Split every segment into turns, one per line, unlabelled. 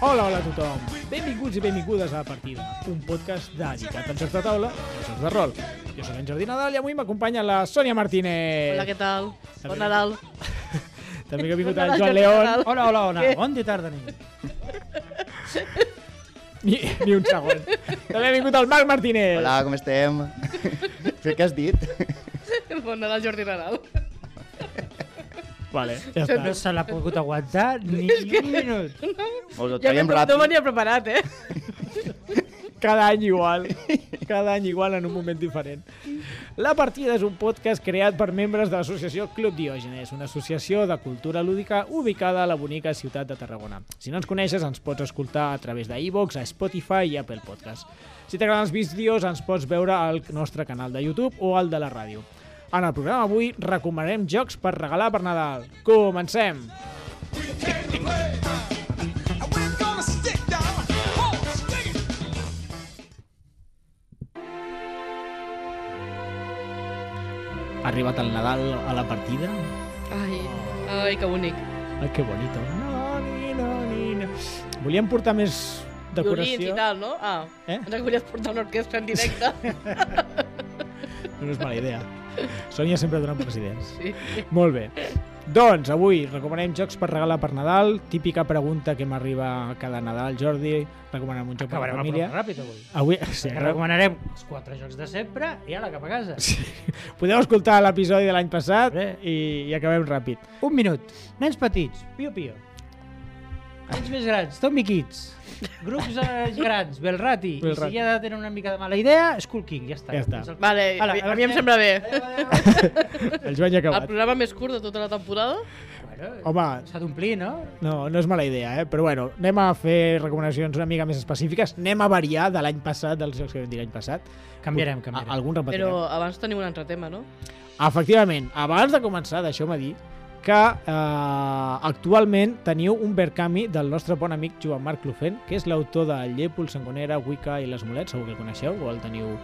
Hola, hola a tothom. Benvinguts i benvingudes a La Partida, un podcast dedicat als jocs de taula i als jocs de rol. Jo sóc en Jordi Nadal i avui m'acompanya la Sònia Martínez.
Hola, què tal?
També
Bon Nadal.
També que ha vingut
Hola,
el Joan
Jordi
León.
Nadal.
Hola, hola, hola.
Què?
Bon dia, tarda, nit. Ni, ni un segon. També ha vingut el Marc Martínez.
Hola, com estem? Crec que has dit.
Bon Nadal, Jordi Nadal.
Vale, ja
No
està.
se l'ha pogut aguantar ni un minut.
Molt ho
Jo
traiem
no,
ràpid.
no venia preparat, eh?
Cada any igual. Cada any igual en un moment diferent. La Partida és un podcast creat per membres de l'associació Club Diògenes, una associació de cultura lúdica ubicada a la bonica ciutat de Tarragona. Si no ens coneixes, ens pots escoltar a través d'e-box, a Spotify i Apple Podcast. Si t'agraden els vídeos, ens pots veure al nostre canal de YouTube o al de la ràdio. En el programa avui recomanarem jocs per regalar per Nadal. Comencem! Ha arribat el Nadal a la partida?
Ai, ai, que bonic.
Ai, que bonito. No, ni, no, ni, no. Volíem portar més
Violins i
decoració.
tal, no? Ah,
Eh?
ens ha volies portar una orquestra en directe.
No és mala idea. Sònia sempre dona bones idees.
Sí.
Molt bé. Doncs avui recomanem jocs per regalar per Nadal. Típica pregunta que m'arriba cada Nadal, Jordi. Recomanem un joc per
Acabarem
la
el
família.
programa ràpid avui.
Avui sí,
Te recomanarem els quatre jocs de sempre i ara cap a casa.
podeu escoltar l'episodi de l'any passat
Bé.
i, i acabem ràpid.
Un minut. Nens petits, pio pio. Nens més grans, Tommy Kids. Grups eh, grans, Belrati. I
Belrati.
si ja tenen una mica de mala idea, Skull King, ja està.
Ja està.
És el-
Vale,
Ala,
a, mi- a mi
anem.
em sembla bé.
El Joan ja ha
El
acabat.
programa més curt de tota la temporada.
Bueno,
Home,
S'ha d'omplir, no?
no, no és mala idea, eh? però bueno, anem a fer recomanacions una mica més específiques. Anem a variar de l'any passat, dels jocs que vam dir l'any passat.
Canviarem,
A-
canviarem.
Algun repetirem.
Però abans tenim un altre tema, no?
Efectivament, abans de començar, deixeu-me dir que eh, actualment teniu un verkami del nostre bon amic Joan Marc Clufent, que és l'autor de Llépol, Sangonera, Wicca i les Molets, segur que el coneixeu o el teniu,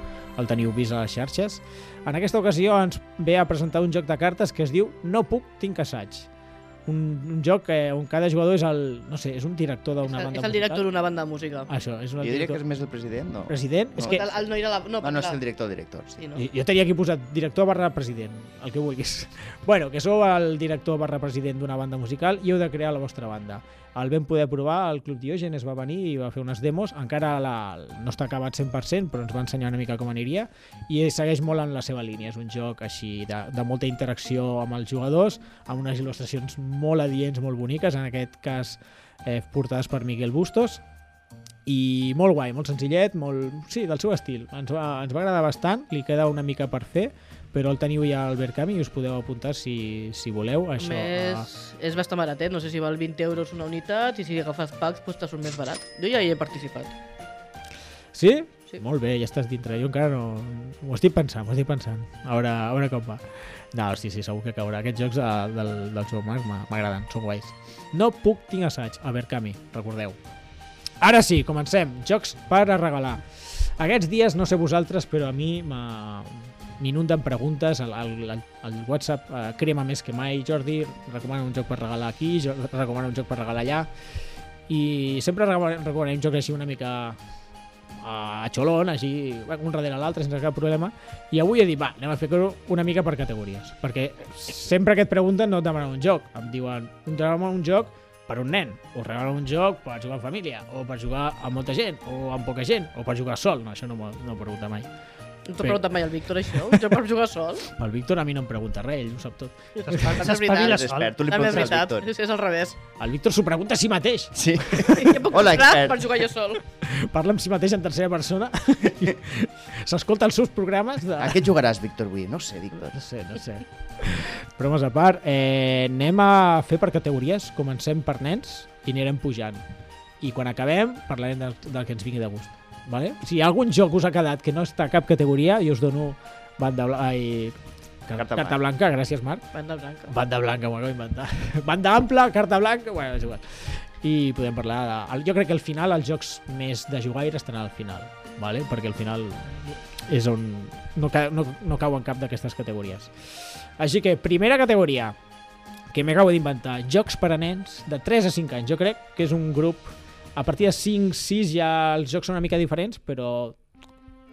el teniu vist a les xarxes. En aquesta ocasió ens ve a presentar un joc de cartes que es diu No puc, tinc assaig. Un, un joc que, on cada jugador és el, no sé, és un director
És
d'una
el,
banda
és el director d'una banda de música.
musical. Això, és un
Jo diria que
director.
és més el president, no?
President? No. És
No.
que
El, el noi de la... No,
No, no, és
clar.
el director, el director. Sí.
Sí, no?
Jo, jo tenia aquí posat director barra president, el que vulguis. Bueno, que sou el director barra president d'una banda musical i heu de crear la vostra banda. El vam poder provar, el Club Diogenes va venir i va fer unes demos, encara la, no està acabat 100%, però ens va ensenyar una mica com aniria, i segueix molt en la seva línia. És un joc així de, de molta interacció amb els jugadors, amb unes il·lustracions molt adients, molt boniques, en aquest cas eh, portades per Miguel Bustos, i molt guai, molt senzillet, molt... sí, del seu estil. Ens va, ens va agradar bastant, li queda una mica per fer, però el teniu ja al Verkami i us podeu apuntar si, si voleu.
A
Això,
més, és bastant barat, eh? No sé si val 20 euros una unitat i si agafes packs doncs te surt més barat. Jo ja hi he participat.
A... Sí?
Sí.
Molt bé, ja estàs dintre. Jo encara no... Ho estic pensant, ho estic pensant. A veure, a veure com va. No, sí, sí, segur que caurà. Aquests jocs de, del, del seu marc m'a- m'agraden, són guais. No puc, tinc assaig. A Verkami, recordeu. Ara sí, comencem. Jocs per a regalar. Aquests dies, no sé vosaltres, però a mi m'ha- m'inunden preguntes, el, el, el, el WhatsApp eh, crema més que mai, Jordi, recomana un joc per regalar aquí, jo, recomana un joc per regalar allà, i sempre recoma- recomanem jocs així una mica eh, a xolon, així, un darrere l'altre, sense cap problema, i avui he dit, va, anem a fer-ho una mica per categories, perquè sempre que et pregunten no et demanen un joc, em diuen, demanen un joc per un nen, o regalen un joc per jugar en família, o per jugar amb molta gent, o amb poca gent, o per jugar sol, no, això no m'ho no m'ho pregunta mai.
No
Sí.
t'ho preguntat mai al Víctor, això? Jo per jugar sol?
Pel Víctor a mi no em pregunta res, ell ho sap tot.
També és
S'espavila
veritat.
sol.
L'expert, tu li
També és
preguntes al
veritat.
Víctor.
És, és al revés.
El Víctor s'ho pregunta a si mateix.
Sí.
Què puc
Hola,
comprar
expert.
per jugar jo sol?
Parla amb si mateix en tercera persona. S'escolta els seus programes de...
A què jugaràs, Víctor, avui? No ho sé, Víctor.
No sé, no sé. Bromes a part, eh, anem a fer per categories. Comencem per nens i anirem pujant. I quan acabem, parlarem del, del que ens vingui de gust. Vale? Si algun joc us ha quedat que no està a cap categoria, jo us dono banda, bla... Ai, car-
Carta
carta, carta blanca. Gràcies, Marc.
Banda blanca.
Banda blanca, m'ho acabo d'inventar. Banda ampla, carta blanca, bueno, és igual. I podem parlar de... el- Jo crec que al final els jocs més de jugaire estan al final, vale? perquè al final és on no, ca... no, no cau en cap d'aquestes categories. Així que, primera categoria, que m'acabo d'inventar, jocs per a nens de 3 a 5 anys. Jo crec que és un grup A partir de 5, 6 ja els jocs són una mica diferents, però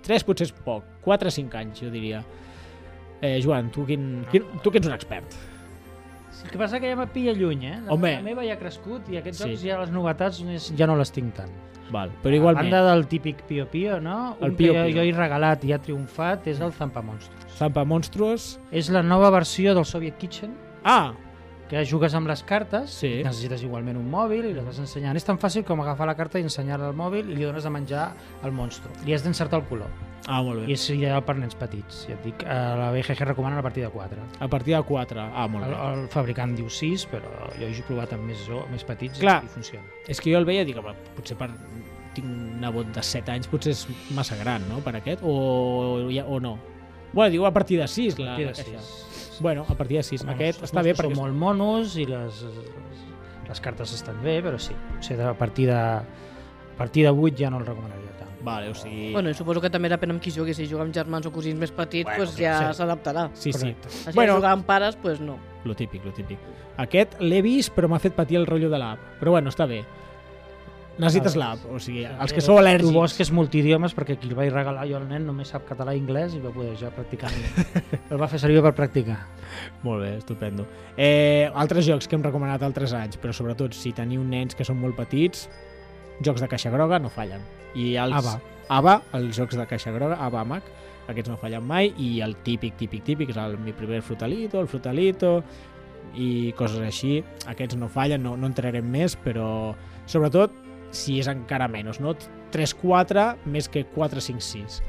3 potser és poc, 4, 5 anys, jo diria. Eh, Joan, tu, quin, quin, tu que ets un expert.
El que passa que ja me pilla lluny, eh? La,
Home.
la meva ja ha crescut i aquests
Sí.
jocs ja les novetats és- ja no les tinc tant.
Val, però igualment,
A banda del típic Pio Pio, no?
El
Un que
Pio
jo,
Pio.
jo he regalat i ha triomfat és el Zampa Monstros.
Zampa Monstruos...
És la nova versió del Soviet Kitchen,
Ah,
que jugues amb les cartes,
Sí.
necessites igualment un mòbil i les vas ensenyant. És tan fàcil com agafar la carta i ensenyar-la al mòbil i li dones de menjar al monstru. Li has d'encertar el color.
ah, molt
I
bé.
és ideal per nens petits. Ja et dic, eh, la BGG recomana a partir de 4.
A partir de 4, ah, molt
El,
bé.
el fabricant diu 6, però jo he provat amb més, jo- més petits
Clar.
i funciona.
És que jo el veia i dic, home, potser per tinc un nebot de 7 anys, potser és massa gran, no?, per aquest, o, ja- o no. Bueno, diu a partir de 6, la,
Té de
la caixa.
sis.
Bueno, a partir de 6.
Bueno,
Aquest
els
està bé
monstros
perquè...
Són molt monos i les, les, les cartes estan bé, però sí, potser a partir de, a partir de 8 ja no el recomanaria tant.
Vale, o sigui...
Bueno, i suposo que també depèn amb qui juguis. Si juga amb germans o cosins més petits,
Bueno,
bueno, pues
clar,
ja
sí.
s'adaptarà.
sí, sí.
Correcte.
Si
Bueno.
bueno. jugar amb pares, pues no.
Lo típic, lo típic. Aquest l'he vist, però m'ha fet patir el rotllo de l'app. Però bueno, està bé. Necessites
Ah,
l'app, o sigui, els
Eh,
que sou
Tu vols
al·lèrgics.
que és multidiomes perquè qui el vaig regalar jo al nen només sap català i anglès i va poder ja practicar. el va fer servir per practicar.
Molt bé, estupendo. Eh, altres jocs que hem recomanat altres anys, però sobretot si teniu nens que són molt petits, jocs de caixa groga no fallen. I els
Ava.
ABA, els jocs de caixa groga, ABA Mac, aquests no fallen mai, i el típic, típic, típic, és el mi primer frutalito, el frutalito, i coses així. Aquests no fallen, no, no entrarem més, però sobretot si és encara menys, no? 3-4 més que 4-5-6.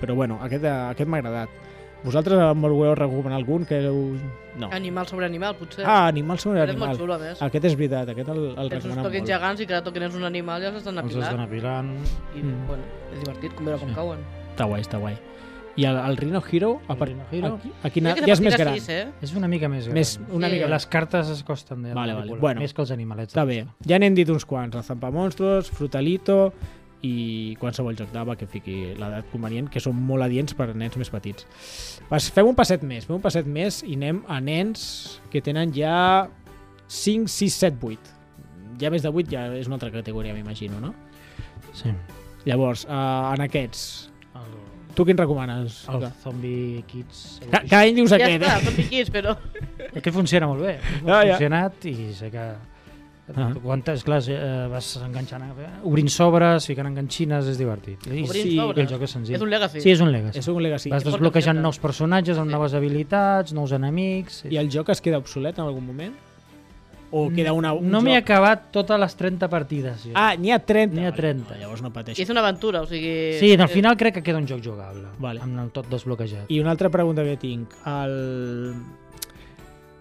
Però bueno, aquest, eh, aquest m'ha agradat. Vosaltres em voleu recomanar algun que heu... No.
Animal sobre animal, potser.
Ah, animal sobre
Aquest és molt
animal.
xulo, a més.
Aquest és veritat, aquest el, el
Tens uns
recomanem
toquets
molt.
gegants i cada toquen és un animal ja s'estan
Els has
apilant.
d'anar pilant.
I,
Mm.
bueno, és divertit com veure com
Sí.
cauen.
Està guai, està guai. I el, el Rhino Hero, a
El
part...
Rhino Hero.
Aquí, aquí na...
Mira que
ja és
de
més
partida
gran.
sis, eh?
És una mica més gran.
Més, una
Sí.
mica més.
Les cartes es costen de
Vale, vale.
manipular,
Bueno.
més que els animalets.
Està bé. Ja n'hem dit uns quants. El Zampa Monstros, Frutalito i qualsevol joc d'ava que fiqui l'edat convenient, que són molt adients per a nens més petits. Pas, fem un passet més, fem un passet més i anem a nens que tenen ja 5, 6, 7, 8. Ja més de 8 ja és una altra categoria, m'imagino, no?
Sí.
Llavors, eh, en aquests,
El,
tu quin recomanes?
el Zombie Kids.
Ca- Cada any dius
Ja
aquest,
està,
eh?
tot piquis, però...
que funciona molt bé.
Ja,
Ja,
Ah, ja.
ja. funcionat i sé que
Ah.
quantes, clar, eh, vas enganxant, eh, obrint sobres, ficant enganxines, és divertit. I
Obrint
sí,
sobres.
el joc és senzill.
És un legacy.
Sí, és un legacy.
eh? És un legacy.
Vas
és molt
desbloquejant
canviant.
nous personatges amb
Sí.
noves habilitats, nous enemics...
I el joc es queda obsolet en algun moment? O queda una, un
Mm, No m'he
joc?
acabat totes les 30 partides. Jo.
Ah, n'hi ha 30.
N'hi ha
Vale,
30.
No, llavors no
I
pateixo.
és una aventura, o sigui...
sí, al final crec que queda un joc jugable,
Vale.
amb el tot desbloquejat.
I una altra pregunta que tinc. El...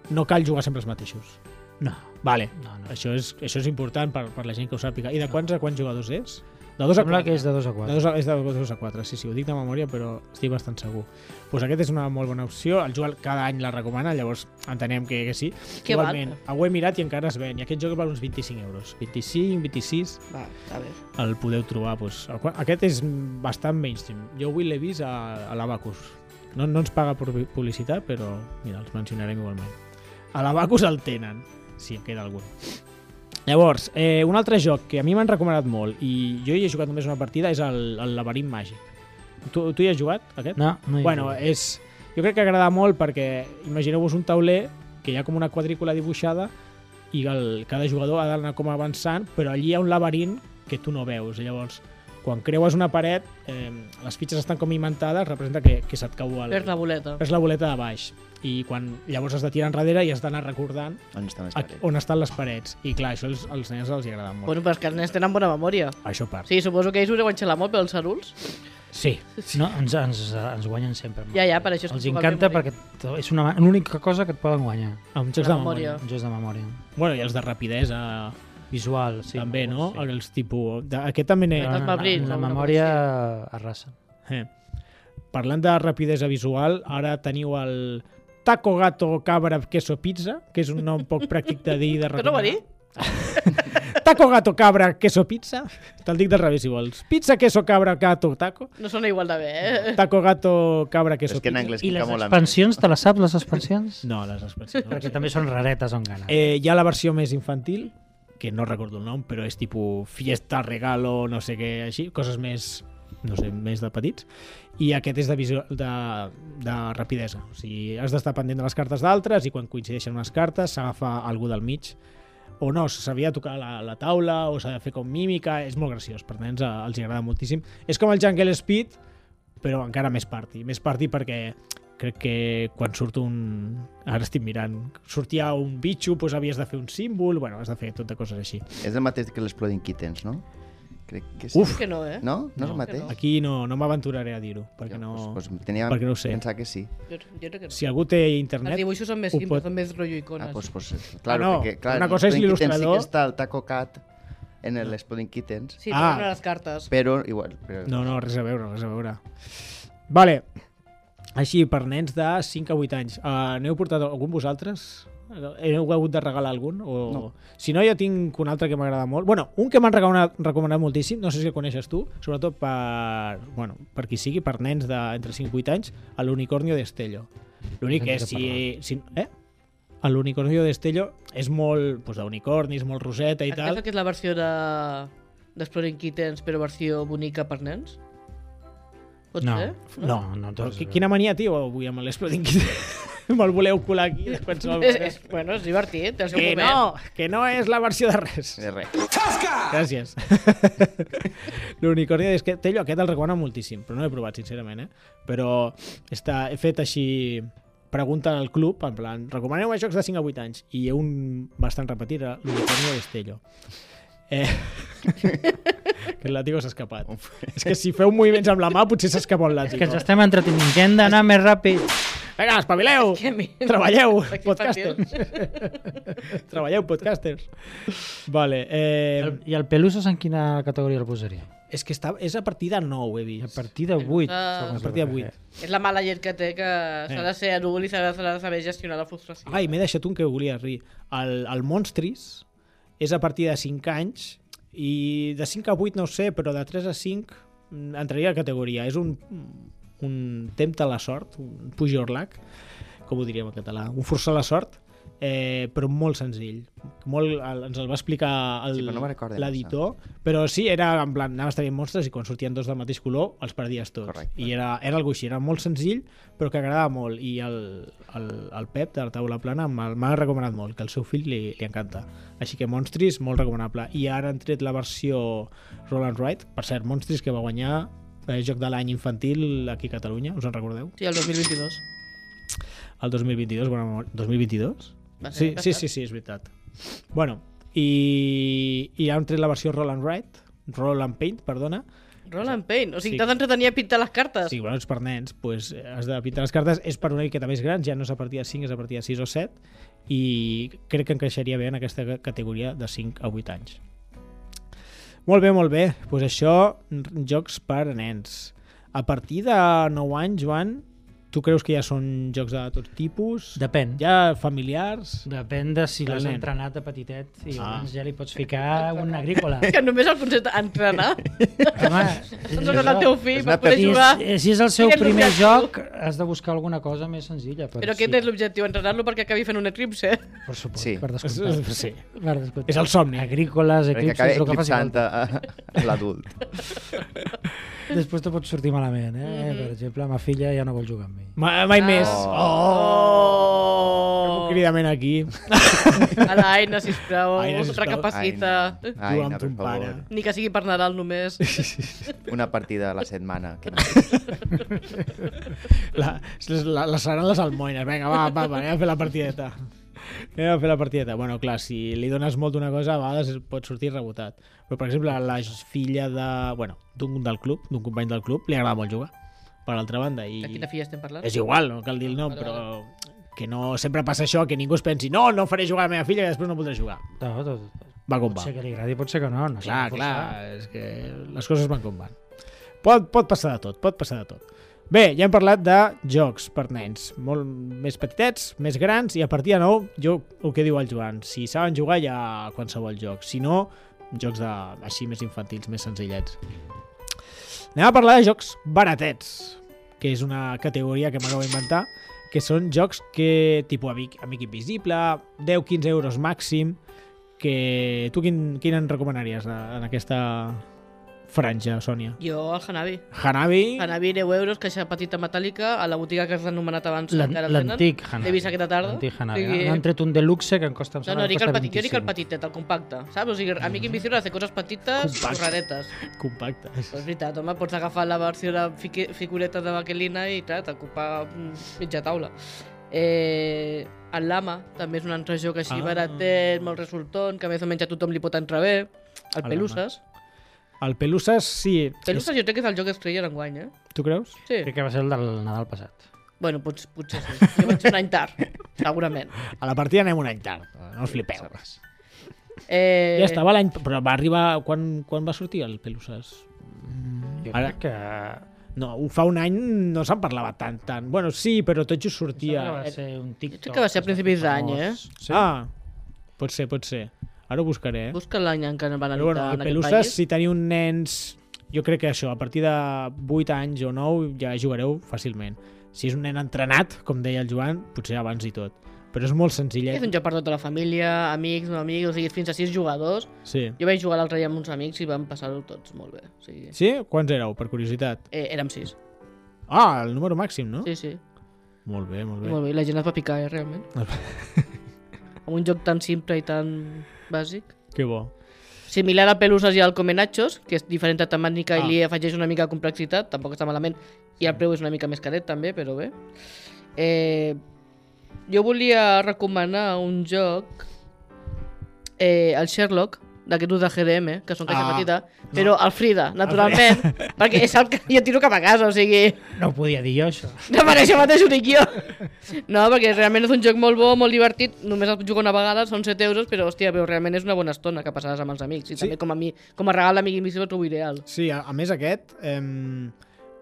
No cal jugar sempre els mateixos.
No,
Vale.
no, no.
Això és, això és important per, per la gent que ho sàpiga. I de quants a quants jugadors és? De dos a
Sembla
quatre.
que és de 2 a
De
4.
dos a, és de 2 a 4, sí, sí, ho dic de memòria, però estic bastant segur. Doncs pues aquest és una molt bona opció, el Joel cada any la recomana, llavors entenem que, que sí.
Que val.
Igualment, ho he mirat i encara es ven, i aquest joc val uns 25 euros. 25, 26,
Va, està bé.
el podeu trobar. Doncs, el qual- aquest és bastant mainstream. Jo avui l'he vist a, a l'Abacus. No, no ens paga pu- publicitat, però mira, els mencionarem igualment. A l'Abacus el tenen, si en queda algun. Llavors, eh, un altre joc que a mi m'han recomanat molt i jo hi he jugat només una partida és el, el Laberint Màgic. Tu, tu hi has jugat, aquest?
No, no hi ha
Bueno,
joc.
és, jo crec que agrada molt perquè imagineu-vos un tauler que hi ha com una quadrícula dibuixada i el, cada jugador ha d'anar com avançant, però allí hi ha un laberint que tu no veus. Llavors, quan creues una paret, eh, les fitxes estan com inventades, representa que, que se't cau el,
Perds la boleta.
perds la boleta de baix. I quan llavors has de tirar enrere i has d'anar recordant
On està més
a,
paret?
on estan les parets. I clar, això als, als nens els hi agrada molt.
Bueno, però és que els nens tenen bona memòria.
Això part.
Sí, suposo que ells us heu enxelat molt, però els adults...
sí.
No, ens, ens, ens guanyen sempre.
Ja, ja, per això... és
Els
que jugar al
encanta
Memory.
perquè t- és una l'única cosa que et poden guanyar.
Amb jocs
La
de memòria.
memòria.
Jocs de memòria.
Bueno, i els de rapidesa,
Visual,
sí,
sí.
també, no?
Sí.
Els tipus... de- Aquest també n'he... Ah,
Però
Els Mabrils,
la, la
alguna cosa
memòria arrasa.
Eh. Parlant de rapidesa visual, ara teniu el Taco Gato Cabra Queso Pizza, que és un nom poc pràctic de dir i de
Però no ho va
recomanar.
dir?
Taco Gato Cabra Queso Pizza. Te'l dic del revés, si vols. Pizza, queso, cabra, gato, taco.
No sona igual de bé, eh?
Taco Gato Cabra Queso
És que en
Pizza.
anglès
I
pica
les
molt amb...
expansions, te les saps, les expansions?
No, les expansions. No,
Perquè
sí.
també són raretes on gana.
eh, hi ha la versió més infantil, que no recordo el nom, però és tipus fiesta, regalo, no sé què, així, coses més no sé, més de petits i aquest és de, visió, de, de rapidesa o sigui, has d'estar pendent de les cartes d'altres i quan coincideixen unes cartes s'agafa algú del mig o no, s'havia de tocar la, la taula o s'ha de fer com mímica, és molt graciós per nens eh, els hi agrada moltíssim, és com el Jungle Speed però encara més party més party perquè crec que quan surt un... ara estic mirant sortia un bitxo, doncs havies de fer un símbol bueno, has de fer tot de coses així
És el mateix que l'Exploding Kittens, no? Crec que sí.
uf,
Que no, eh?
No? No, és
No.
el mateix?
aquí no, no m'aventuraré a dir-ho perquè no...
Pues, pues, tenia
perquè no ho sé.
pensar que sí.
Jo, jo crec que no.
si algú té
Els
internet
dibuixos són més
ho
simples,
pot-
són més rotllo icones.
Ah, pues, pues, claro,
Ah, no,
perquè, clar,
una
en
cosa és
Exploding Kittens
l'il·lustrador.
Sí que està el Taco Cat en l'Exploding Kittens,
Sí,
Ah.
ah. les cartes.
però igual... Però...
no, no, res a veure, res a veure vale, així per nens de 5 a 8 anys uh, n'heu portat algun vosaltres? Eh, heu hagut de regalar algun? O...
No.
si no jo tinc un altre que m'agrada molt bueno, un que m'han recomanat, recomanat moltíssim no sé si el coneixes tu, sobretot per bueno, per qui sigui, per nens d'entre 5 i 8 anys, a l'unicornio d'Estello l'únic
Sense
és si, si eh? a l'unicornio d'Estello és molt pues, d'unicorni, és molt roseta i
Aquesta
tal
que és la versió de d'Exploding Kittens, però versió bonica per nens? Pot
No,
ser?
no,
no,
Però qui- Quina mania, tio, avui amb l'Exploding Kittens. Me'l voleu colar aquí de qualsevol
És,
manera.
és, bueno, és divertit, té el seu
Que
moment.
no, que no és la versió de res.
De res.
Gràcies. L'unicorni és que té lloc, aquest el recomano moltíssim, però no l'he provat, sincerament, eh? Però està, he fet així pregunta al club, en plan, recomaneu a jocs de 5 a 8 anys? I un bastant repetit era l'unicorni d'Estello. Eh, que el làtigo s'ha escapat. És que si feu moviments amb la mà potser s'escapa el
És
làtigo.
que ens estem entretenint, que hem d'anar més ràpid.
Vinga, espavileu!
Que mi-
Treballeu,
Aquí
podcasters. Treballeu, podcasters. Vale, eh,
El, I el Pelusos en quina categoria el posaria?
és que està, és a partir de 9, he
A
vist.
partir de 8.
Ah.
A partir de 8.
És la mala llet que té, que s'ha de ser adult i s'ha de- s'ha de saber gestionar la frustració.
Eh. Ai, m'he deixat un que volia rir. El, el Monstris és a partir de 5 anys i de 5 a 8 no ho sé, però de 3 a 5 mm, entraria a la categoria. És un, un tempta la sort, un pujorlac, com ho diríem en català, un forçar la sort, eh, però molt senzill. Molt, el, ens el va explicar el-
Sí, però no me'n recordo de
l'editor, però, sí, era en plan, anaves tenint monstres i quan sortien dos del mateix color els perdies tots.
Correcte.
I era, era algo així, era molt senzill, però que agradava molt. I el, el, el Pep, de la taula plana, me'l m'ha recomanat molt, que al seu fill li, li encanta. Així que Monstris, molt recomanable. I ara han tret la versió Roland Wright, per cert, Monstris, que va guanyar eh, Joc de l'any infantil aquí a Catalunya, us en recordeu?
Sí, el 2022.
El 2022, bona memòria. 2022?
Va ser
Sí,
l'any
sí,
passat.
sí, sí, és veritat. Bueno, i, i han tret la versió Roll and Write, Roll and Paint, perdona.
Roland Payne, o sigui,
Sí.
t'has d'entretenir a pintar les cartes.
Sí, bueno, és per nens, pues, has de pintar les cartes. És per una miqueta més gran, ja no és a partir de 5, és a partir de 6 o 7, i crec que encaixaria bé en aquesta ca- categoria de 5 a 8 anys. Molt bé, molt bé. Doncs pues això, r- jocs per a nens. A partir de 9 anys, Joan, tu creus que ja són jocs de tot tipus?
Depèn. Ja.
Ja familiars?
Depèn de si
Del
l'has
nen.
entrenat de petitet i
Ah.
ah. ja li pots ficar un agrícola.
Que només el concepte entrenar.
Home,
Doncs no el teu fill
és
per
una
poder
si,
jugar.
és, si és el seu
Aquest és
primer joc,
l'objectiu.
has de buscar alguna cosa més senzilla. Però,
Però aquest és l'objectiu, entrenar-lo perquè acabi fent eh? un eclipse.
Per supost,
Sí.
sí. per descomptat.
Sí.
Per descomptat.
És el somni.
Agrícoles,
Perquè
eclipses,
acaba
el que faci
eclipsant
falta.
a, a l'adult.
Després te pot sortir malament, eh? Mm -hmm. Per exemple, ma filla ja no vol jugar amb mi.
Mai, mai més. Oh!
Oh.
Un Cridament aquí.
A l'Aina, sisplau,
Aina, sisplau.
recapacita.
Ai,
amb
no, per
ton
favor.
pare.
Ni que sigui per Nadal només.
Una partida a la setmana. Que no.
La, la, la seran les almoines. Vinga, va, va, va, anem a fer la partideta. Anem a fer la partideta. Bueno, clar, si li dones molt d'una cosa, a vegades pot sortir rebotat. Però, per exemple, la filla de... Bueno, d'un del club, d'un company del club, li agrada molt jugar. Per altra banda, i...
De quina filla estem parlant?
És igual, no cal dir el nom,
Vale,
però que no sempre passa això, que ningú es pensi no, no faré jugar a la meva filla i després no podré jugar.
No, tot,
Va com
pot
va.
ser que li agradi, pot ser que no. no s'ha
Clar,
de forçar.
clar, és que les coses van com van. Pot, pot passar de tot, pot passar de tot. Bé, ja hem parlat de jocs per nens, molt més petitets, més grans, i a partir de nou, jo, el que diu el Joan, si saben jugar ja a qualsevol joc, si no, jocs de, així més infantils, més senzillets. Anem a parlar de jocs baratets, que és una categoria que m'acabo d'inventar, que són jocs que, tipus amic, amic invisible, 10-15 euros màxim, que tu quin, quin en recomanaries de, en aquesta franja, Sònia?
Jo, el Hanabi.
Hanabi,
Hanabi, 10 euros, caixa petita metàl·lica, a la botiga que has anomenat abans.
L'an-
encara el tenen.
L'antic Hanabi.
L'he vist aquesta tarda.
L'antic Hanabi.
O sigui,
Han tret un deluxe que em costa...
No,
em sembla
no,
que
dic el
costa
petit, jo dic el
25.
petitet, el compacte, saps? O sigui, a mi que invisible hace coses petites,
Compacte.
raretes.
compacte.
Però és veritat, home, pots agafar la versió de fique- figuretes de vaquelina i clar, t'ocupar mm, mitja taula. Eh, el Lama també és un altre joc així
Ah.
ah. baratet, molt resultant, que a més o menys a tothom li pot entrar bé. El,
El
Peluses.
El Peluses, sí.
Peluses jo crec que és el joc que es treia enguany, eh?
És- Tu creus?
Sí.
Crec que va ser el del Nadal passat.
Bueno, pot, potser sí. Jo vaig un any tard, segurament.
A la partida anem un any tard, no us flipeu.
Eh,
Ja estava l'any... Però va arribar... Quan, quan va sortir el Peluses?
Jo
Ara-
crec que...
No, ho fa un any no se'n parlava tant, tant. Bueno, sí, però tot just sortia.
Sembla que va ser un TikTok.
eh, crec que va ser a
es va fer
principis d'any, eh?
famós. Sí.
Ah, pot ser, pot ser. Ara ho buscaré, eh?
Busca l'any en què van editar
Però bueno, el
en aquest
Peluses,
país.
si teniu nens... Jo crec que això, a partir de 8 anys o 9 ja jugareu fàcilment. Si és un nen entrenat, com deia el Joan, potser abans i tot. Però és molt senzillet.
És un joc per tota la família, amics, no amics, o sigui, fins a sis jugadors.
Sí.
Jo vaig jugar l'altre dia amb uns amics i vam passar-ho tots molt bé. O sigui,
Sí? Quants éreu, per curiositat?
eh, érem sis.
Ah, el número màxim, no?
Sí, sí.
Molt bé, molt
I
bé.
molt bé, i la gent es va picar, eh, realment.
Molt
amb un joc tan simple i tan bàsic.
Que bo.
Similar a Peluses i al Comenachos, que és diferent de temàtica
Ah.
i li afegeix una mica de complexitat, tampoc està malament, i el preu és una mica més caret també, però bé. Eh, jo volia recomanar un joc, eh, el Sherlock, d'aquests de GDM, que són caixa
Ah,
petita, però el Frida, naturalment, perquè és el que jo tiro cap a casa, o sigui...
No ho podia dir jo, això.
No, per això mateix ho dic jo. No, perquè realment és un joc molt bo, molt divertit. Només el jugo una vegada, són 7 euros, però hòstia, però realment és una bona estona que passaràs amb els amics. I
Sí.
també com a, mi, com a regal d'amic invisible trobo ideal.
Sí, a, a més aquest, em,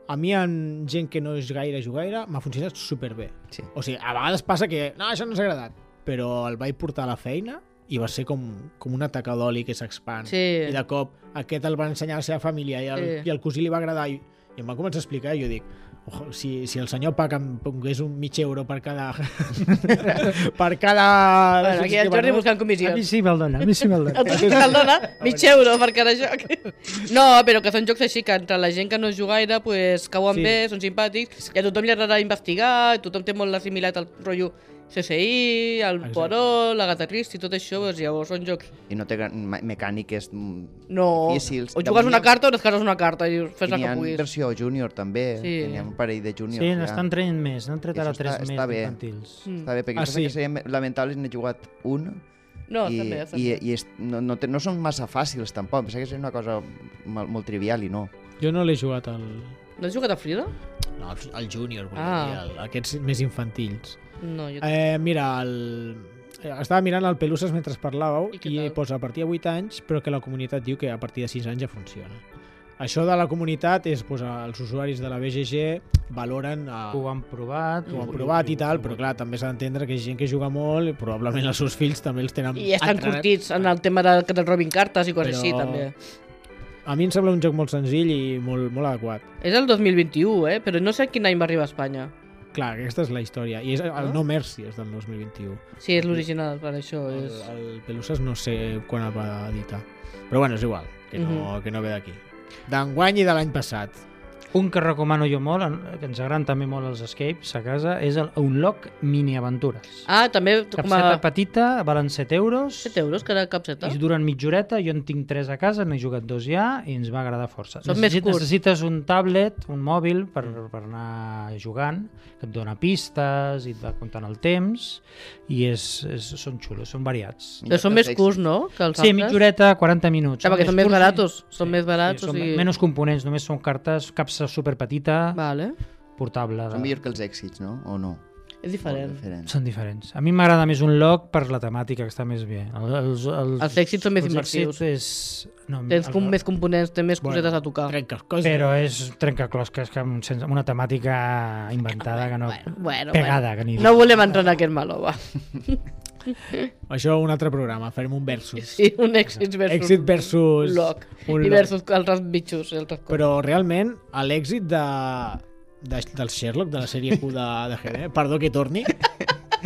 a mi amb gent que no és gaire jugaire, m'ha funcionat superbé.
Sí.
O sigui, a vegades passa que, no, això no s'ha agradat, però el vaig portar a la feina i va ser com, com un atac d'oli que s'expand.
Sí.
I de cop aquest el va ensenyar a la seva família i el,
Sí.
i el cosí li va agradar i, i em va començar a explicar i jo dic, Ojo, si, si el senyor Pac em pongués un mig euro per cada... per cada...
Bueno, aquí el Jordi buscant comissió.
A mi sí me'l dona, a mi sí me'l dona.
El Toni te'l dona mig euro per cada joc. No, però que són jocs així que entre la gent que no és jugaire pues,
Sí.
cauen sí. bé, són simpàtics, i a tothom li agrada investigar, i tothom té molt assimilat el rotllo CSI, el
Exacte.
Poirot, l'Agatha Christie, tot això, doncs llavors són jocs
I no té gran- me- mecàniques mm,
No.
difícils.
O
De
jugues una
moment,
carta o descartes una carta i fes la
i n'hi
que
ha
puguis.
versió júnior també,
Sí.
sí. n'hi ha un parell de júniors.
Sí, n'estan traient més, n'han tret
Això
ara
està-
tres més
està bé.
infantils.
Mm.
Està bé, perquè
Ah,
ah,
sí.
sí. que serien lamentables n'he jugat un
No,
i,
també, també.
i, i est, no, no, te, no són massa fàcils tampoc, pensava que seria una cosa molt, molt trivial i no.
Jo no l'he jugat al...
No has jugat a Frida?
No, al- al júnior, volia
Ah.
dir, al- aquests més infantils.
No, jo... Eh,
Eh, mira, el... eh, estava mirant el Peluses mentre parlàveu
I què
i, i
tal?
posa a partir de 8 anys, però que la comunitat diu que a partir de 6 anys ja funciona. Això de la comunitat és, pues, els usuaris de la BGG valoren a,
Ho han provat.
ho han provat i tal, però clar, també s'ha d'entendre que és gent que juga molt i probablement els seus fills també els tenen...
I estan
entrenats.
curtits en el tema de, que te'n robin cartes i coses
Però-
així, també.
A mi em sembla un joc molt senzill i molt, molt adequat.
És el 2021, eh? Però no sé quin any va arribar a Espanya.
Clar, aquesta és la història. I és el
Ah.
No Mercy, és del 2021.
Sí, és l'original, per això
El,
és...
el Peluses no sé quan el va editar. Però bueno, és igual, que no,
Mhm.
que no ve d'aquí. D'enguany i de l'any passat.
Un que recomano jo molt, en- que ens agraden també molt els escapes a casa, és el Unlock Mini Aventures.
Ah, també com a...
Capseta petita, valen 7 euros.
7 euros cada capseta?
I duren mitja horeta, jo en tinc tres a casa, n'he jugat dos ja i ens va agradar força.
Són més curts.
necessites un tablet, un mòbil per, per anar jugant, que et dona pistes i et va comptant el temps i és, és, són xulos, són variats.
Però són més curts, no? Que els
Sí, mitja horeta, 40 minuts.
Ja, perquè són més
curts i-
baratos. Són més barats, o
són
sigui...
Menys components, només són cartes, capsa superpetita,
Vale.
portable.
Són millor que els èxits, no? O no?
És diferent.
Molt diferent.
Són diferents. A mi m'agrada més un log per la temàtica, que està més bé. El- Els, els,
Els èxits són més
els èxits
immersius.
És... No,
Tens
el-
com més components, té més cosetes a tocar.
Trenques coses.
Però és trencaclosques que amb, sense- amb una temàtica inventada que no...
Bueno, bueno,
pegada, que ni
bueno. No volem entrar en aquest meló, va.
Això un altre programa, farem un versus.
Sí, un èxit versus...
Exit versus...
Lock.
Un
I
lock.
versus altres bitxos i altres coses.
Però realment, a l'èxit de, de, del Sherlock, de la sèrie Q de, de GD, perdó que eh? torni,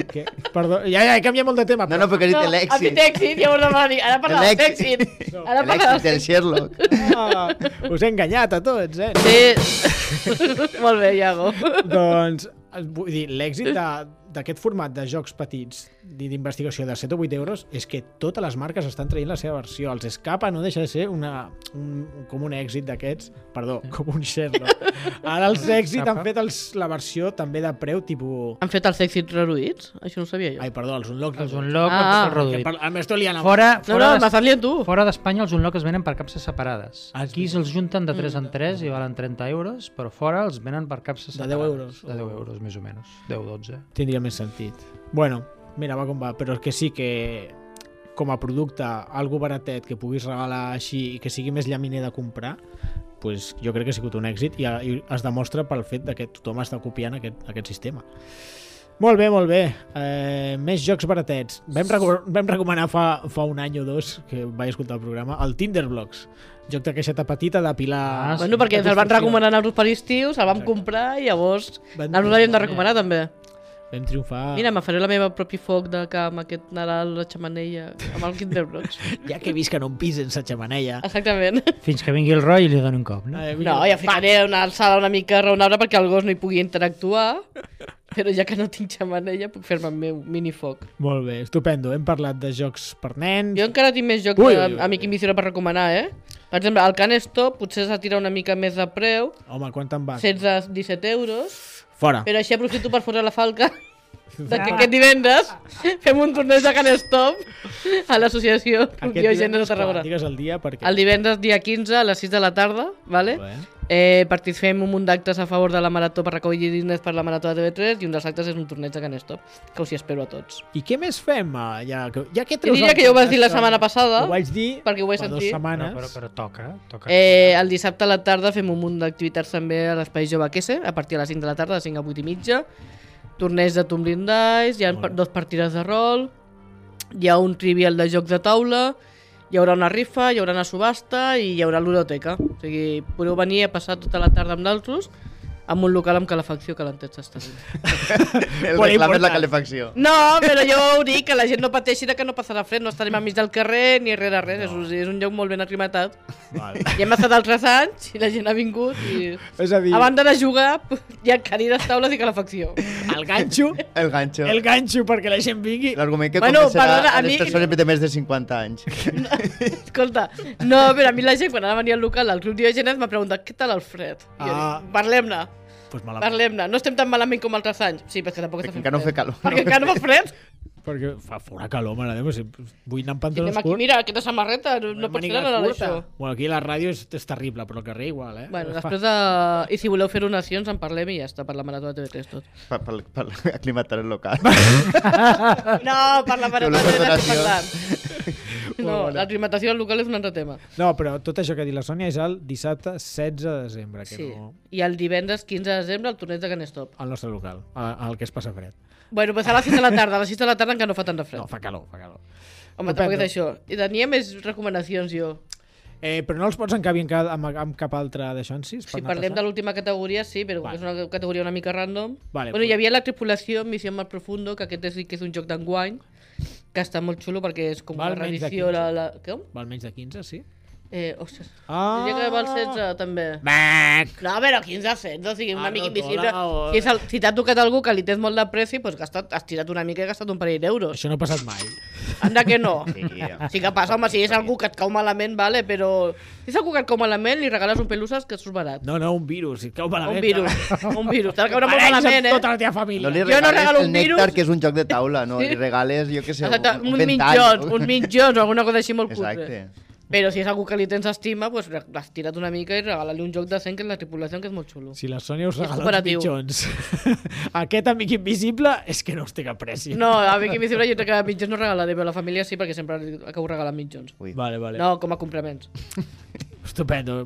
Que, perdó, ja, ja, he canviat molt de tema.
No, no, perquè has dit
Has dit
l'èxit.
èxit, llavors demà dic, ara parla
L'èxit.
d'èxit. Ara parla
L'èxit del
d'èxit.
Sherlock.
Ah, us he enganyat a tots, eh?
Sí. Molt bé, Iago.
Doncs, vull dir, l'èxit de- d'aquest format de jocs petits di- d'investigació de 7 o 8 euros és que totes les marques estan traient la seva versió. Els escapa no deixa de ser una, un, com un èxit d'aquests, perdó, com un Sherlock. Ara els èxit han fet els, la versió també de preu tipus...
Han fet els èxits reduïts? Això no ho sabia jo.
Ai, perdó, els Unlock.
Ah, Els Unlock
Ah,
ah,
ah.
han estat reduïts.
Al Mesto li han
Fora,
No,
fora,
no,
no,
m'estàs liant tu.
fora d'Espanya els Unlock es venen per capses separades.
Ah, és
Aquí se'ls junten de 3 en 3 i valen 30 euros, però fora els venen per capses
De 10
separades.
euros.
De 10 euros, més o menys. 10-12.
tindria més sentit. Bueno, mira, va com va, però és que sí que com a producte, algo baratet que puguis regalar així i que sigui més llaminer de comprar, pues jo crec que ha sigut un èxit i, i es demostra pel fet de que tothom està copiant aquest, aquest sistema. Molt bé, molt bé. Eh, més jocs baratets. Vam, reco vam recomanar fa, fa un any o dos, que vaig escoltar el programa, el Tinderblocks, joc de caixeta petita d'apilar...
Ah,
Bueno, perquè ens el van recomanar a nosaltres per estiu, se'l vam
Exacte.
comprar i llavors
Van Ah.
nosaltres l'havíem de
triomfar.
recomanar també.
Vam triomfar...
Mira, me faré la meva propi foc de camp aquest Nadal, la xamanella, amb el Kinder Blocks.
Ja que he vist que no em pis sense xamanella...
Exactament.
Fins que vingui el Roy i li doni un cop, no?
Eh,
No, ja ficaré una alçada una mica raonable perquè el gos no hi pugui interactuar, però ja que no tinc xamanella puc fer-me el meu minifoc.
Molt bé, estupendo. Hem parlat de jocs per nens.
Jo encara tinc més jocs
Ui,
ui,
ui, ui.
a mi que invisible per recomanar, eh? Per exemple, el Can Stop potser s'atira una mica més de preu,
Home, quan te'n vas?
16-17 euros,
Fora.
però així aprofito per fotre la falca de que aquest divendres fem un torneig de Can Stop a l'associació Biogènere de
divendres,
Tarragona.
quan? Digues el dia perquè...
El divendres dia 15 a les 6 de la tarda, vale?
Bé.
Eh, participem un munt d'actes a favor de la marató per recollir diners per la marató de TV3 i un dels actes és un torneig de Can Stop, que us hi espero a tots.
I què més fem? ah, Ja, que, ja que
Jo
treus
diria
el
que ja ho vas dir la
podcast,
setmana passada,
Ho vaig dir
perquè ho vaig
fa dues
sentir.
setmanes.
No, però, però toca, toca.
Eh, el dissabte a la tarda fem un munt d'activitats també a l'Espai Jove Quese, a partir de les 5 de la tarda, de 5 a 8 i mitja. Torneig de Tumbling Dice, hi ha
Molt
par-
bé.
dos partides de rol, hi ha un trivial de joc de taula, hi haurà una rifa, hi haurà una subhasta i hi haurà l'Uroteca. O sigui, podeu venir a passar tota la tarda amb nosaltres amb un local amb calefacció que l'entets està fent.
El
Bueno,
reclam és la
important.
calefacció.
No, però jo ho dic, que la gent no pateixi de que no passarà fred, no estarem a mig del carrer ni rere res, no. és, és un lloc molt ben aclimatat.
Vale.
Ja hem estat altres anys i la gent ha vingut i...
És a dir,
A banda de jugar, hi ha cadires, taules i calefacció.
el ganxo,
El ganxo.
el ganxo perquè la gent vingui.
L'argument que
Bueno,
bueno, convencerà
perdona, a
a les
mi-
persones de més de 50 anys.
Escolta, no, però a mi la gent, quan anava a venir al local, al Club Diogenes, m'ha preguntat què tal el fred. I jo
Ah.
dic, parlem-ne,
Pues me la...
parlem-ne. No estem tan malament com altres anys. Sí, perquè tampoc està
Perquè
fent
encara no
fred.
fa calor.
Perquè encara no fa fred.
Perquè fa fora calor, mare de Déu. si Vull anar amb
I
pantalons
anem aquí, mira, aquesta samarreta, no, no pots
màniga
tirar nada
curta.
d'això.
Bueno, aquí la ràdio és, és terrible, però el carrer igual, eh?
Bueno,
Fa-
després de... I si voleu fer donacions, en parlem i ja està, per la marató de TV3 tot.
Per, per, per aclimatar el local.
No, per la marató de
Voleu fer
TV3 estem parlant.
donacions?
No, l'aclimatació al local és un altre tema.
No, però tot això que ha dit la Sònia és el dissabte 16 de desembre, que
Sí.
no...
I el divendres 15 de desembre, el torneig de Can Stop.
al nostre local, a- al que es passa fred.
Bueno, pues a les 6 de la tarda, a les 6 de la tarda encara no fa tant de fred.
No, fa calor, fa calor.
Home,
Depèn,
tampoc és
no?
això. I tenia més recomanacions jo.
Eh, però no els pots encabir en cap, amb, amb cap altre d'això, sí?
Si parlem de l'última categoria, sí, però
Vale.
vale. és una categoria una mica random.
Vale,
bueno,
pues-
hi havia la tripulació, Missió Mar Profundo, que aquest és, que és un joc d'enguany, que està molt xulo perquè és com
Val
una
menys de
reedició...
15.
La, la... Què?
Val menys de 15, sí?
Eh, ostres,
Ah!
diria que val 16, també.
Bac!
No, però 15 a 16, o sigui, una
Ah,
mica
no,
invisible.
hola,
Si, és el- si t'ha tocat algú que li tens molt de preci, doncs gastat, has tirat una mica i gastat un parell d'euros.
Això no ha passat mai.
Anda que no.
Sí.
Sí que passa, home, si és algú que et cau malament, vale, però... Si és algú que et cau malament, li regales un peluses que et surt barat.
No, no, un virus, si et cau malament.
Un virus, un virus. T'ha de caure molt
Pareix amb
malament,
tota
eh?
la teva família.
No li
Jo no
regales
regalo
el
un
nèctar,
virus.
que és un joc de taula, no?
Sí.
Li regales, jo què sé,
Exacte,
un,
uns
ventall.
mitjons, uns mitjons o alguna cosa així molt cutre.
Exacte.
Però si és algú que li tens estima, doncs l'has tirat una mica i regala-li un joc de 100 que és la tripulació, que és molt xulo.
Si la Sònia us
És
regala uns
cooperatiu.
mitjons. Aquest amic invisible és que no us té cap preci.
No, a mi que m'hi sembla jo crec que mitjons no regalaré, però a la família sí, perquè sempre acabo regalant mitjons.
Ui.
Vale, vale.
No, com a complements.
Estupendo.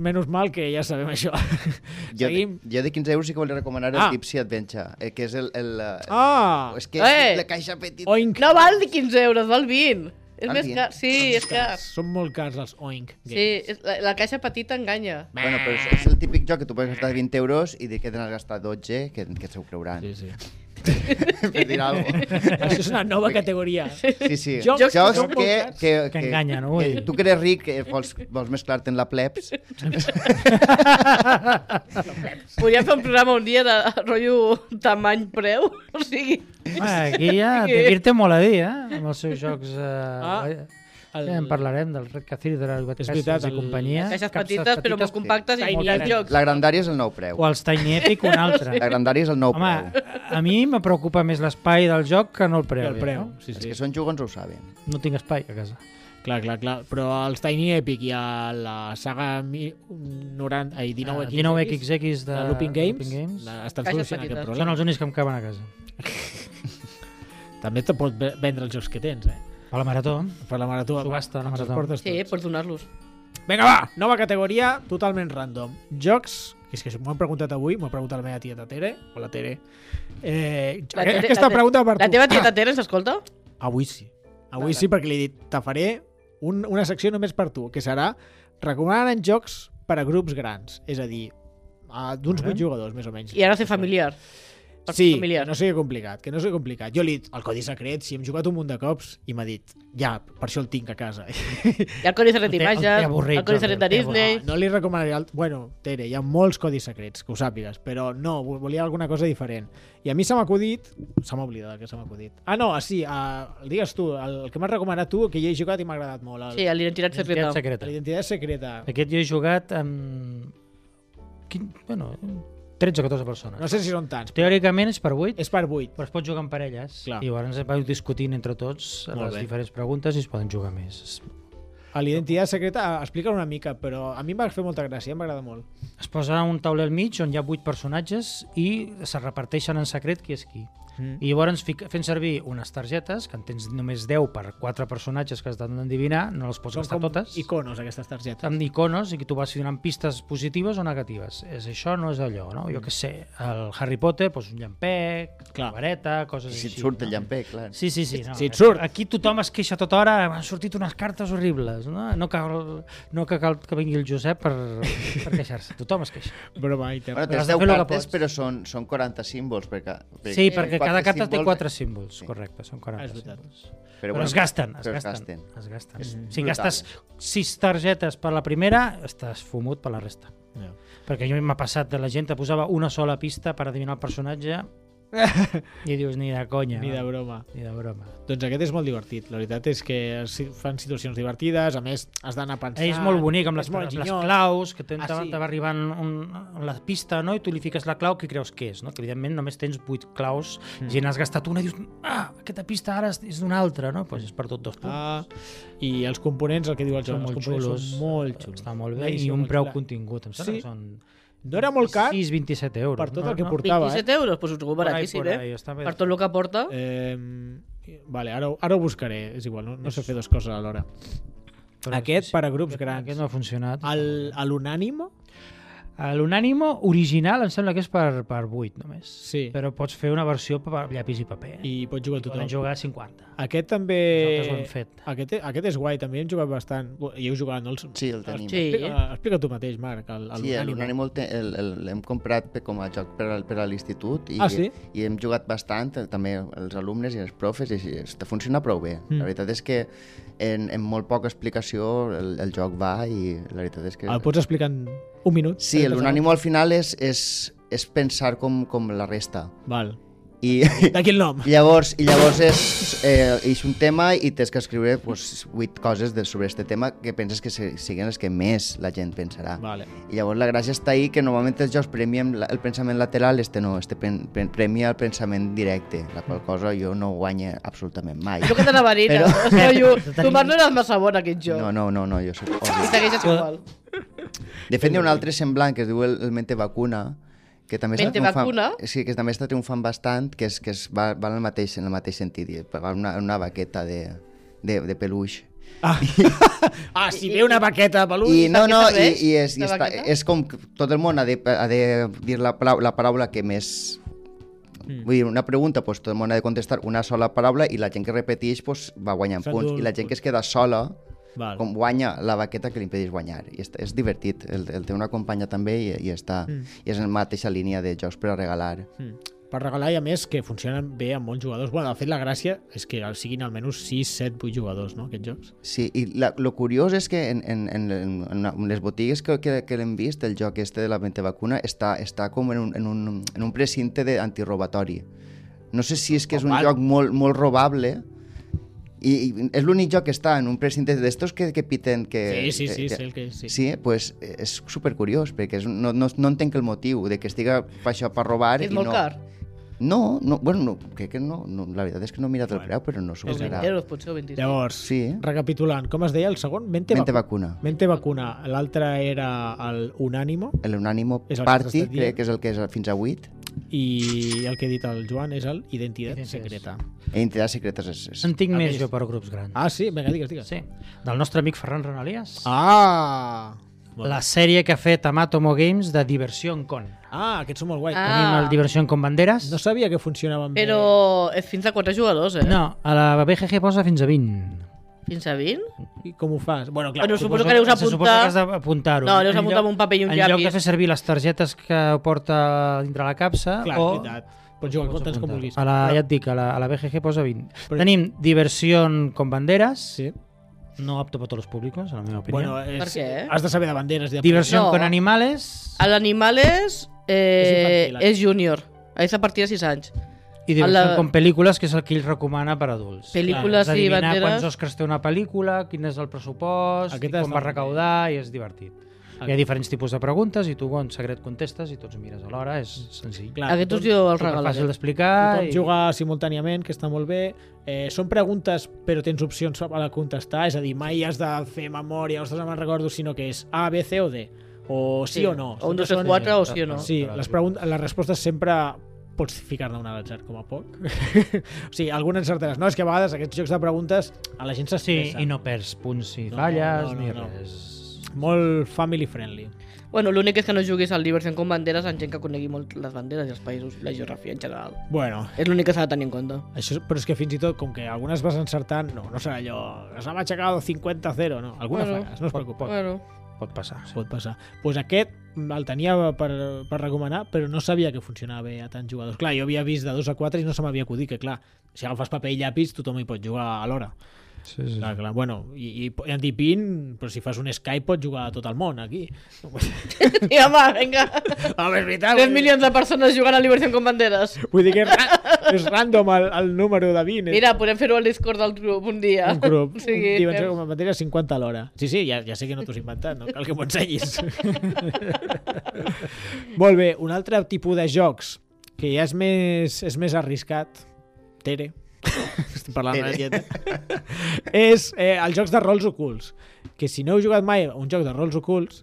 Menys mal que ja sabem això.
Jo, de,
Seguim.
jo de 15 euros sí que volia recomanar el
Ah.
ah. Tipsy Adventure, eh, que és el... el ah.
Ah!
És que
Eh.
eh. la caixa petita...
Oink.
No val 15 euros, val 20. És
Val
més
20?
car. Sí, és car.
Són molt cars els oink.
Sí, és, la, la caixa petita enganya.
Bueno, però és, és el típic joc que tu pots gastar 20 euros i dir que te n'has gastat 12, que, que se ho creuran.
Sí, sí.
per dir alguna cosa.
Això és una nova categoria.
Sí, sí.
Jocs
Jocs, jocs
que-
que, que,
que enganyen, ui.
que tu que eres ric, que vols, vols mesclar-te en la plebs.
Podríem fer un programa un dia de rotllo tamany-preu, o sigui...
Home, aquí ja
Que-
dir-te molt a dir, eh? Amb els seus jocs... Eh,
Ah,
ah, ja en parlarem del Red Cathedral, de les White
veritat,
Castles i
el-
companyia.
Caixes
Caps
petites, però molt compactes i
Tiny
molts
Epic.
jocs.
La grandària és el nou preu.
O els Tiny Epic, un altre.
La grandària és el nou
Home,
preu.
a mi me preocupa més l'espai del joc que no el preu.
El preu,
No?
sí,
Els
sí.
que són jugons ho saben.
no tinc espai a casa.
Clar, clar, clar. Però els Tiny Epic i a la saga mi- 90, ai, 19
Ah,
Epic,
19XX de,
de eh, Looping Games,
Looping Games.
la- estan
Caixes
solucionant aquest
petites.
problema.
Són els únics que em caben a casa.
També te pot ve- vendre els jocs que tens, eh?
A la marató.
Per la marató.
Subhasta, la
ens els
marató.
portes
Sí,
tots.
pots donar-los.
Vinga, va! Nova categoria, totalment random. Jocs, que és que m'ho han preguntat avui, m'ho ha preguntat la meva tieta Tere, o la Tere. Eh,
La
aqu-
Tere-
aquesta
la Tere-
pregunta per
La
tu.
teva tieta Tere ens escolta?
Avui sí. Avui
Vale.
sí, perquè li he dit, te faré un, una secció només per tu, que serà recomanant jocs per a grups grans, és a dir, a- d'uns
Vale.
8 jugadors, més o menys.
I ara ser familiar. Per
Sí,
familiar.
que no sigui complicat, que no sigui complicat. Jo li he dit, el codi secret, si hem jugat un munt de cops, i m'ha dit, ja, per això el tinc a casa.
Hi ha el Codi Secret
El té- el té
d'Images,
avorrit,
el Codi
Jordi,
Secret
el
de
té
Disney...
No, no li recomanaria... El... Bueno, Tere, hi ha molts codis secrets, que ho sàpigues, però no, vo- volia alguna cosa diferent. I a mi se m'ha acudit... Se m'ha oblidat el que se m'ha acudit. Ah, no, ah, sí, ah, el digues tu, el que m'has recomanat tu, que hi he jugat i m'ha agradat molt. El...
Sí, a l'identitat secreta.
secreta.
L'identitat secreta.
Aquest jo he jugat amb... Quin... Bueno, 13 o 14 persones.
No sé si són tants.
Teòricament és per 8,
És per 8.
però es pot jugar en parelles.
Clar.
I llavors es van discutint entre tots
Molt
les
bé.
diferents preguntes i es poden jugar més.
A l'identitat secreta ah, explica una mica, però a mi em va fer molta gràcia, m'agrada molt.
Es posa un tauler al mig on hi ha 8 personatges i se reparteixen en secret qui és qui.
Mm.
I llavors fica- fent servir unes targetes, que en tens només 10 per 4 personatges que has d'endevinar, no les pots gastar totes.
iconos, aquestes targetes.
amb icones i que tu vas donant pistes positives o negatives. És això, no és allò, no? Jo que sé, el Harry Potter, doncs un llampec,
Mm. Clar.
Clar. vareta, coses
Si et
així.
surt
no?
el llampec, clar.
Sí, sí, sí. No. eh,
Si et surt.
Aquí tothom es queixa tota hora, m'han sortit unes cartes horribles, no? No cal, no que, cal que vingui el Josep per, per queixar-se. Tothom es queixa.
Broma, i te...
Bueno,
Però has
tens
de
10
fer lo que
cartes,
pots.
però són, són 40 símbols. Per ca... per-
Sí, perquè
quatre
cada carta té
símbols,
quatre símbols,
Sí.
correcte, són 40
Ah, és veritat.
símbols.
Però,
Però,
bueno,
es gasten, es
però es
gasten.
gasten.
Es gasten.
Mhm.
Si
Brutal.
gastes 6 targetes per la primera, estàs fumut per la resta.
Ja.
Perquè jo m'ha passat de la gent que posava una sola pista per adivinar el personatge i dius ni de conya,
Ni de
va,
broma.
ni de broma.
Doncs aquest és molt divertit. La veritat és que es fan situacions divertides, a més has d'anar pensant...
És molt bonic amb les,
és molt
amb les
ginyós.
claus, que
Ah,
t'en-
sí.
te va arribant un, un- la pista no? i tu li fiques la clau que creus que és. No? Que evidentment només tens 8 claus
Mm.
i n'has gastat una i dius ah, aquesta pista ara és- és d'una altra, no? pues és per tot dos punts.
Ah, I els components, el que diu el joc,
Són
els
molt
components
xulos. Eh,
són molt xulos.
Està molt
Una
bé i
edició
un
molt
preu
xula.
contingut, em sembla
Sí.
que són
No era molt car
6, 27 euros.
per tot
no,
el que
no?
portava,
27 euros, doncs ho trobo
Por ahí,
baratíssim,
por
eh?
ahí, està bé.
Per tot el que porta,
eh? Vale, ara, ho- ara ho buscaré, és igual, no, no sé fer dues coses alhora.
Però
Aquest
Ah, sí, sí,
per a grups grans.
Aquest no ha
Ah.
funcionat.
El- a L'Unànimo?
El- L'Unànimo original em sembla que és per, per 8 només.
Sí.
Però pots fer una versió per llapis i paper. Eh?
I pot jugar tothom.
Poden jugar a 50.
Aquest també...
Nosaltres ho hem fet.
Aquest, aquest és guai, també hem jugat bastant. Bo, I heu jugat, no? Els...
Sí, el tenim. eh.
Sí.
Explica, eh, explica tu mateix, Marc, el- el
Sí,
Unànimo.
l'Unànimo el te- el- el- l'hem comprat per, com a joc per, al- per a l'institut i,
Ah, sí?
i hem jugat bastant, eh, també els alumnes i els profes, i així, està- funciona prou bé. Mm. La veritat és que en, en molt poca explicació el, el joc va i la veritat és que...
El pots explicar en un minut?
Sí, l'Unànimo al final és, és, és pensar com, com la resta.
Val.
I,
D'aquí el nom.
i llavors, i llavors és, eh, és un tema i tens que escriure pues, 8 coses de, sobre este tema que penses que se- siguin les que més la gent pensarà.
Vale.
I llavors la gràcia està ahí que normalment els jocs premien la- el pensament lateral, este no, este pen, pen, premia el pensament directe, la qual cosa jo no guanya absolutament mai.
jo que t'anava a dir,
Però-
però... tu Marc no eres massa bon aquest joc.
No, no, no, no jo soc
I
horrible.
segueixes igual.
De fet, hi ha un altre semblant que es diu el, el Mente Vacuna, que també està
Mente
triomfant-
Vacuna?
Sí, que també està triomfant bastant, que, és, que és, va, va en, el mateix, en el mateix sentit, i va en una, en una baqueta de, de, de peluix.
Ah, si ve una baqueta de peluix...
I no,
per què
no, i,
serveix
i, és, i
la
està,
baqueta?
és com que tot el món ha de, ha de dir la, parau- la paraula que més... Mm. Vull dir, una pregunta, doncs, tot el món ha de contestar una sola paraula i la gent que repeteix doncs, va guanyant
S'endú
punts.
el
I la gent
punt.
que es queda sola
Val.
com guanya la baqueta que li impedeix guanyar. I és, és divertit, el, el té una companya també i, i està... Mm. I és en la mateixa línia de jocs per a regalar.
Mm. per regalar i a més que funcionen bé amb molts jugadors. Bueno, de fet la gràcia és que siguin almenys 6, 7, 8 jugadors, no, aquests jocs.
Sí, i la, lo curiós és que en, en, en, en- en les botigues que, que, que l'hem vist, el joc este de la mente vacuna està, està com en un, en un, en un precinte de antirobatori. No sé si és que és un
Home.
joc molt, molt robable, i, i és l'únic joc que està en un precinte d'estos que, que piten que...
sí, sí, sí,
que,
sé el que... Sí.
Eh, Sí, pues eh, és supercuriós, perquè és, un- no, no, no entenc el motiu de que estiga per això per robar
És
i
molt
no...
car.
No, no, bueno, no, crec que no, no, la veritat és que no he mirat el
Bueno,
preu, però no s'ho
Els 20 euros, potser, o 25.
Llavors,
Sí, eh?
recapitulant, com es deia el segon? Mente,
Mente
Mente,
vacuna.
Mente vacuna. L'altre era el Unánimo
L'Unànimo
És el que has
Party,
estat dient.
crec que és el que és fins a 8.
i el que ha dit el Joan és el Identitat
Identitat.
Secreta.
I Entitats secretes és... és...
En tinc
A
més
més-
jo per grups grans.
Ah, sí? Vinga, digues, digues.
Sí, del nostre amic Ferran Renalies.
Ah! Molt
La
bé.
sèrie que ha fet Amatomo Games de Diversió en Con.
Ah, aquests són molt guai.
Ah.
Tenim el Diversió en Con Banderes.
No sabia que funcionaven
Però
bé.
és fins a 4 jugadors, eh?
No, a la BGG posa fins a 20.
Fins a 20?
I com ho fas? Bueno, clar,
Bueno,
tu-
suposo que deus
Se suposa que has
apuntar...
d'apuntar-ho.
No, deus
En
apuntar
lloc-
amb un paper i un
En lloc de
llapis.
fer servir les targetes que porta dintre la capsa
clar,
o...
veritat. Pots jugar amb
Oh. Pots
tants com
apuntar.
vulguis.
A la,
Però-
ja et dic, a la, a la BGG posa 20.
Però-
Tenim diversió con banderes,
Sí.
no apto per tots els públics, a la meva opinió.
Bueno, eh, és,
Per què?
Has de saber de banderes. i De
diversió
No.
con animales
A l'animal és... Eh,
És infantil,
és júnior. A esa partida 6 anys.
i diversió
la-
con pel·lícules, que és el que ell recomana per adults.
Pel·lícules
és
i
adivinar
banderes.
quants Oscars té una pel·lícula, quin és el pressupost,
Aquest
i
està
com va
molt
recaudar, i és divertit.
Aquest-
Hi ha diferents tipus de preguntes i tu en secret contestes i tots mires alhora, és senzill.
Clar,
Aquest us
tothom-
diu el eh?
Super
regalat.
fàcil d'explicar.
Tothom
i-
juga simultàniament, que està molt bé. Eh, són preguntes, però tens opcions a la contestar, és a dir, mai has de fer memòria, ostres, no me'n recordo, sinó que és A, B, C o D. O sí, o no.
O un,
Sempre
dos o
són-
quatre, o sí o no.
Sí, les, pregun- les respostes sempre pots ficar-ne una a l'atzar com a poc. o sigui, algunes encertaràs. No, és que a vegades aquests jocs de preguntes a la gent
Sí,
s'estressa.
i no perds punts si
No,
falles,
no, no,
ni
no.
res.
Molt family friendly.
Bueno, l'únic és que no juguis al Diversion con banderes amb gent que conegui molt les banderes i els països, la geografia en general.
Bueno,
És l'únic que s'ha de tenir en compte.
això, però és que fins i tot, com que algunes vas encertant, no, no serà allò, les ha matxacat 50-0, no, alguna
Bueno,
bueno, faràs, no us preocupeu.
Bueno,
Pot passar.
Es pot passar. Doncs pues aquest el tenia per, per recomanar, però no sabia que funcionava bé a tants jugadors. Clar, jo havia vist de 2 a 4 i no se m'havia acudit, que clar, si agafes paper i llapis tothom hi pot jugar alhora.
Sí, sí.
Clar, clar, bueno, i, i, i en Dipin, però si fas un Skype pot jugar a tot el món, aquí.
i home, vinga.
Ah, Home, és veritat.
3 milions de persones jugant a Liberation con banderes.
Vull dir que és, ra- és random el, el número de 20. és
Mira, podem fer-ho al Discord del grup un dia.
un grup.
O
Sí,
sigui,
Diuen
fem-
com a matèria 50 a l'hora. Sí, sí, ja, ja sé que no t'ho has inventat, no cal que m'ho ensenyis. Molt bé, un altre tipus de jocs que ja és més, és més arriscat, Tere, estic parlant una
Tere.
dieta, és eh, els jocs de rols ocults. Que si no heu jugat mai a un joc de rols ocults,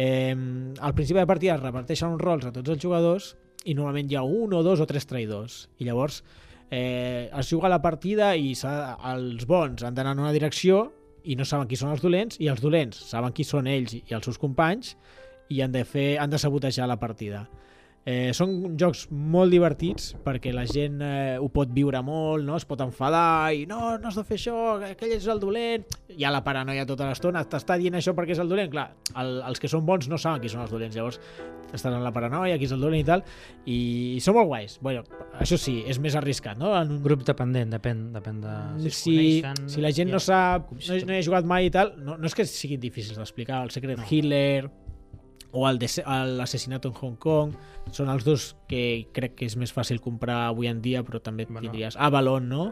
eh, al principi de partida es reparteixen uns rols a tots els jugadors i normalment hi ha un o dos o tres traïdors. I llavors eh, es juga la partida i s'ha- els bons han d'anar en una direcció i no saben qui són els dolents i els dolents saben qui són ells i els seus companys i han de, fer, han de sabotejar la partida. Eh, són jocs molt divertits perquè la gent eh, ho pot viure molt, no? es pot enfadar i no, no has de fer això, aquell és el dolent hi ha la paranoia tota l'estona t'està dient això perquè és el dolent, clar el, els que són bons no saben qui són els dolents llavors estàs en la paranoia, qui és el dolent i tal i són molt guais bueno, això sí, és més arriscat no? en un
Grup dependent, depèn, depèn de... es
si,
coneixen,
si la gent
Ah, ja.
no sap, no,
Sí.
no hi ha jugat mai i tal, no, no és que siguin difícils d'explicar, el Secret no. Hitler o el dese- el l'assassinato en Hong Kong, són els dos que crec que és més fàcil comprar avui en dia, però també
Bueno.
bueno. tindries Avalon, no?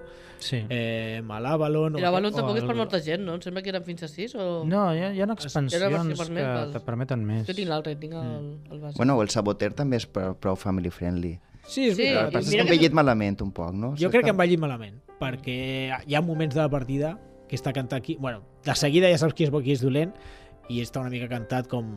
Sí.
Eh, mal Avalon...
Però Avalon
o-
tampoc és per
el-
molta gent, no? Em sembla que eren fins a 6 o...
No, hi ha, hi ha
Era la
expansions
versió
que
vermella, el-
te permeten més.
Jo tinc l'altre, tinc el,
Mm.
el base.
Bueno, el saboter també és prou, prou family friendly.
Sí, és
Sí,
veritat.
El que passa
mira
és que
que-
hem vetllit malament un poc, no?
Jo crec que em va llit malament, perquè hi ha moments de la partida que està cantat aquí... Bueno, de seguida ja saps qui és bo i qui és dolent, i està una mica cantat com...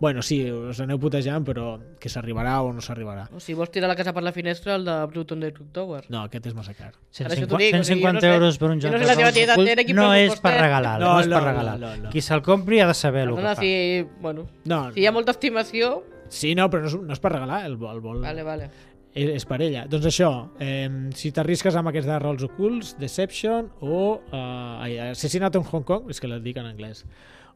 Bueno, sí, us aneu putejant, però que s'arribarà o no s'arribarà.
O si vols tirar la casa per la finestra, el de Pluton de Clock Tower.
No, aquest és massa car.
Ara això
150,
t'ho dic, o sigui,
150
jo no sé-
euros per un
jo
joc
no sé
de
la teva
rols
tietat,
ocults
era qui
no és
pressupostés.
per regalar, no,
No,
és
no,
per regalar.
no, no, no.
Qui se'l compri ha de saber el
Perdona,
que fa.
si... Bueno,
No,
si hi ha molta estimació...
sí, no, però no és, no és per regalar, el, vol- el vol
Vale, vale.
És, és per ella. Doncs això, eh, si t'arrisques amb aquests de rols ocults, Deception o eh, ai, Assassinat en Hong Kong, és que la dic en anglès,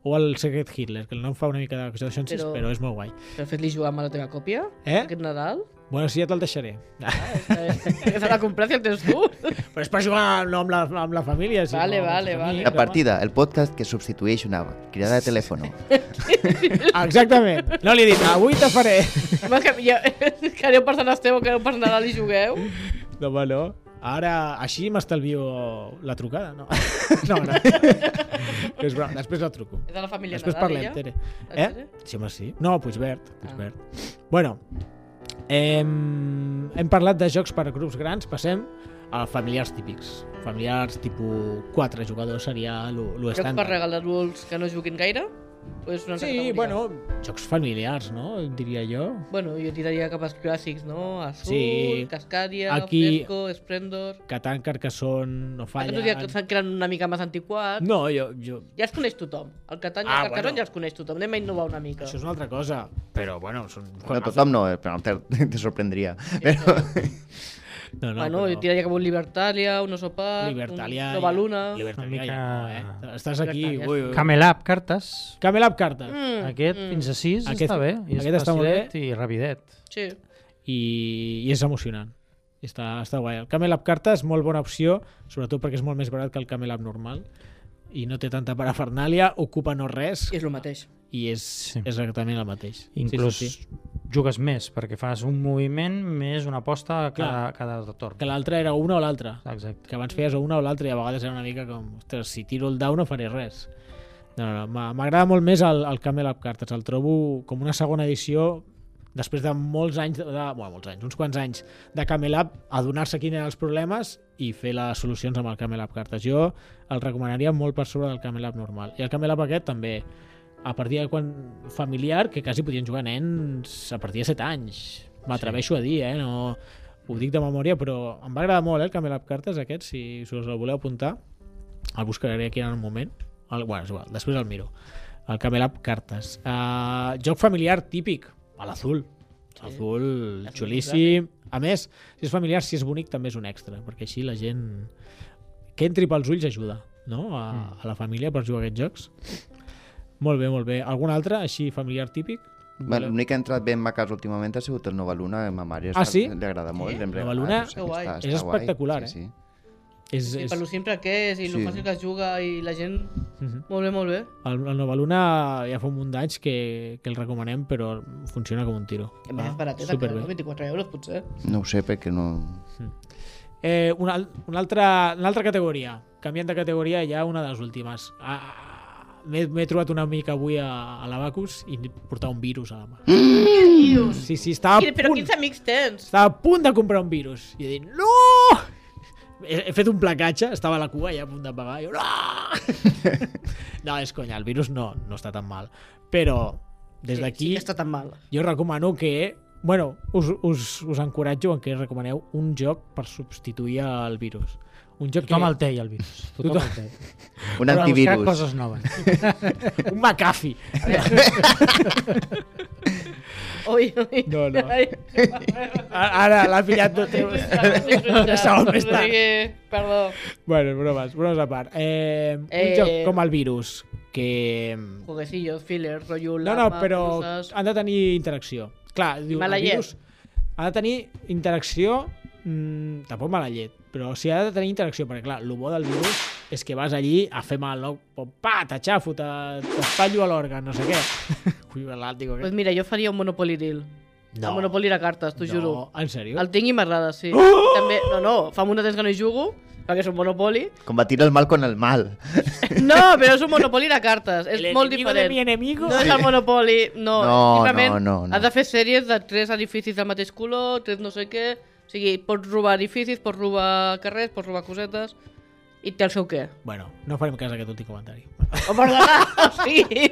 o el Secret Hitler, que el nom fa una mica de Consolations, però...
Però-
però és molt guai.
Però fet-li jugar amb la teva còpia,
Eh?
aquest Nadal.
Bueno, sí, ja te'l deixaré.
Eh, que se la comprat i el tens tu.
però és per jugar no amb la, amb la família. Si
Vale,
no,
vale,
amb els
vale.
amics,
La
no?
partida, el podcast que substitueix una cridada de telèfon.
Exactament. No li he dit, avui te faré.
Home, que, ja, que aneu per Sant Esteve o que aneu per Nadal i jugueu.
No, va, no. Ara, així m'estalvio la trucada, no? no, no. és broma. Després la truco.
És de la família
Després
Nadal,
parlem,
ella. Ah,
Tere.
La
Eh?
Tere?
Sí, home, sí. No, doncs Puigbert.
Ah.
Puigbert. Bueno, hem, hem parlat de jocs per a grups grans, passem a familiars típics. Familiars tipus 4 jugadors seria
Jocs
l'estàndard.
per regalar-vos que no juguin gaire? O és una altra
Sí,
categoria?
bueno, jocs familiars, no? Diria jo.
Bueno, jo tiraria cap als clàssics, no? Azul,
Sí.
sí. Cascadia,
Aquí-
Aquí... Fresco, Esplendor...
Catan, Carcassonne, no
Aquest
falla.
dia que pensant que eren una mica més antiquats.
No, jo, jo...
Ja els coneix tothom. El Catany
Ah,
ah, i el Carcassonne
bueno.
bueno. ja els coneix tothom. Anem a innovar una mica.
Això és una altra cosa, però bueno, són...
No, tothom no, eh, però te, te sorprendria. Però,
No, no,
No, bueno,
però-
jo tiraria com un Libertalia, un Osopat,
Libertalia...
un Nova Luna...
Libertalia, ja,
Una mica-
no, eh? Estàs aquí...
Libertalia.
Ui, ui.
Camel Up, cartes.
Camel Up Cartes.
Mm,
Aquest,
mm,
fins a 6,
Aquest-
està bé. I és
aquest està molt bé.
facilet I rapidet.
Sí.
i, i és emocionant. I Està, està guai. El Camel Up Carta és molt bona opció, sobretot perquè és molt més barat que el Camel Up normal i no té tanta parafernàlia, ocupa no res
És el mateix.
i és, sí. és exactament el mateix.
Inclús
Sí, sí, sí.
jugues més, perquè fas un moviment més una aposta cada, cada
Que
torn.
l'altre era una o l'altra.
Exacte.
Que abans feies o una o l'altra i a vegades era una mica com, ostres, si tiro el dau no faré res. No, no, no. m'ha- M'agrada molt més el, el Camel Up Cartes. El trobo com una segona edició després de molts anys, de, de, bueno, molts anys, uns quants anys de Camel Up, adonar-se quins eren els problemes i fer les solucions amb el Camel Up Cartes. Jo el recomanaria molt per sobre del Camel Up normal. I el Camel Up aquest també, a partir de quan familiar, que quasi podien jugar nens a partir de 7 anys. M'atreveixo a dir, eh? No, ho dic de memòria, però em va agradar molt eh, el Camel Up Cartes aquest, si us el voleu apuntar. El buscaré aquí en un moment. El, bueno, és igual, després el miro. El Camel Up Cartes. Uh, joc familiar típic, a l'azul. Sí. Azul,
Azul
xulíssim. A més, si és familiar, si és bonic, també és un extra, perquè així la gent que entri pels ulls ajuda no? a, mm. a la família per jugar a aquests jocs. Molt bé, molt bé. Algun altre, així, familiar típic?
bueno, L'únic que ha entrat bé en ma casa últimament ha sigut el Nova Luna, a ma mare
Ah, sí?
li agrada molt. ah,
Sí?
Sí?
Nova Luna
Que guai.
és espectacular, eh?
Sí, sí.
És,
I
és...
per lo simple que és, i lo
Sí.
fàcil que es juga, i la gent...
Mhm.
Molt bé, molt bé.
El, el Nova Luna ja fa un munt d'anys que, que el recomanem, però funciona com un tiro.
A més, és baratet,
Ah, superbé.
eh, no? 24 euros, potser.
No ho sé, perquè no...
Eh, una, al- una, altra, una altra categoria. Canviant de categoria, ja una de les últimes. Ah, ah, M'he m'he trobat una mica avui a, a l'Abacus i portar un virus a la mà. Sí, sí, estava
Quin-
a
Però
Ah, punt,
quins amics tens?
estava a punt de comprar un virus. I he dit, no! He, he fet un placatge, estava a la cua ja a punt de pagar. I jo, no! no, és conya, el virus no, no està tan mal. Però des
Sí,
d'aquí...
que està tan mal.
Jo recomano que... Bueno, us, us, us encoratjo en que recomaneu un joc per substituir el virus. Un joc
Tothom
que...
el té, el virus. Tothom
Tothom-
el té.
Un
Per buscar
antivirus.
coses noves.
Un McAfee.
Ui, ui.
No, no.
Ai,
Ara ara l'ha pillat tot.
Una
segon més tard.
Perdó.
bueno, bromes, bromes a part. Eh, un
Eh.
joc com el virus, que...
Jueguecillos, filler, rotllo,
No, no,
lama,
però
coses.
han de tenir interacció. Clar, diu,
Mala
el
llet.
virus ha de tenir interacció... Mm, tampoc mala llet, però o sigui, ha de tenir interacció, perquè clar, el bo del virus és que vas allí a fer mal, no? Pa, t'aixafo, te- t'espatllo a l'òrgan, no sé què. Ui, l'àltico
Pues
aquest.
mira, jo faria un Monopoly Deal. No. El Monopoly de cartes, t'ho
no,
juro.
en sèrio?
El tinc i m'agrada, sí. També, no, no, fa molt de temps que no hi jugo, perquè és un Monopoly.
Combatir el mal con el mal.
No, però és un Monopoly de cartes, és
El
molt
enemigo de
diferent.
mi enemigo?
No és el Monopoly, no.
No,
Simplement
no, no, no.
Has de fer sèries de tres edificis del mateix color, tres no sé què... O sigui, pots robar edificis, pots robar carrers, pots robar cosetes... I té el seu què.
Bueno, no farem cas a aquest últim comentari.
O perdona, o sigui...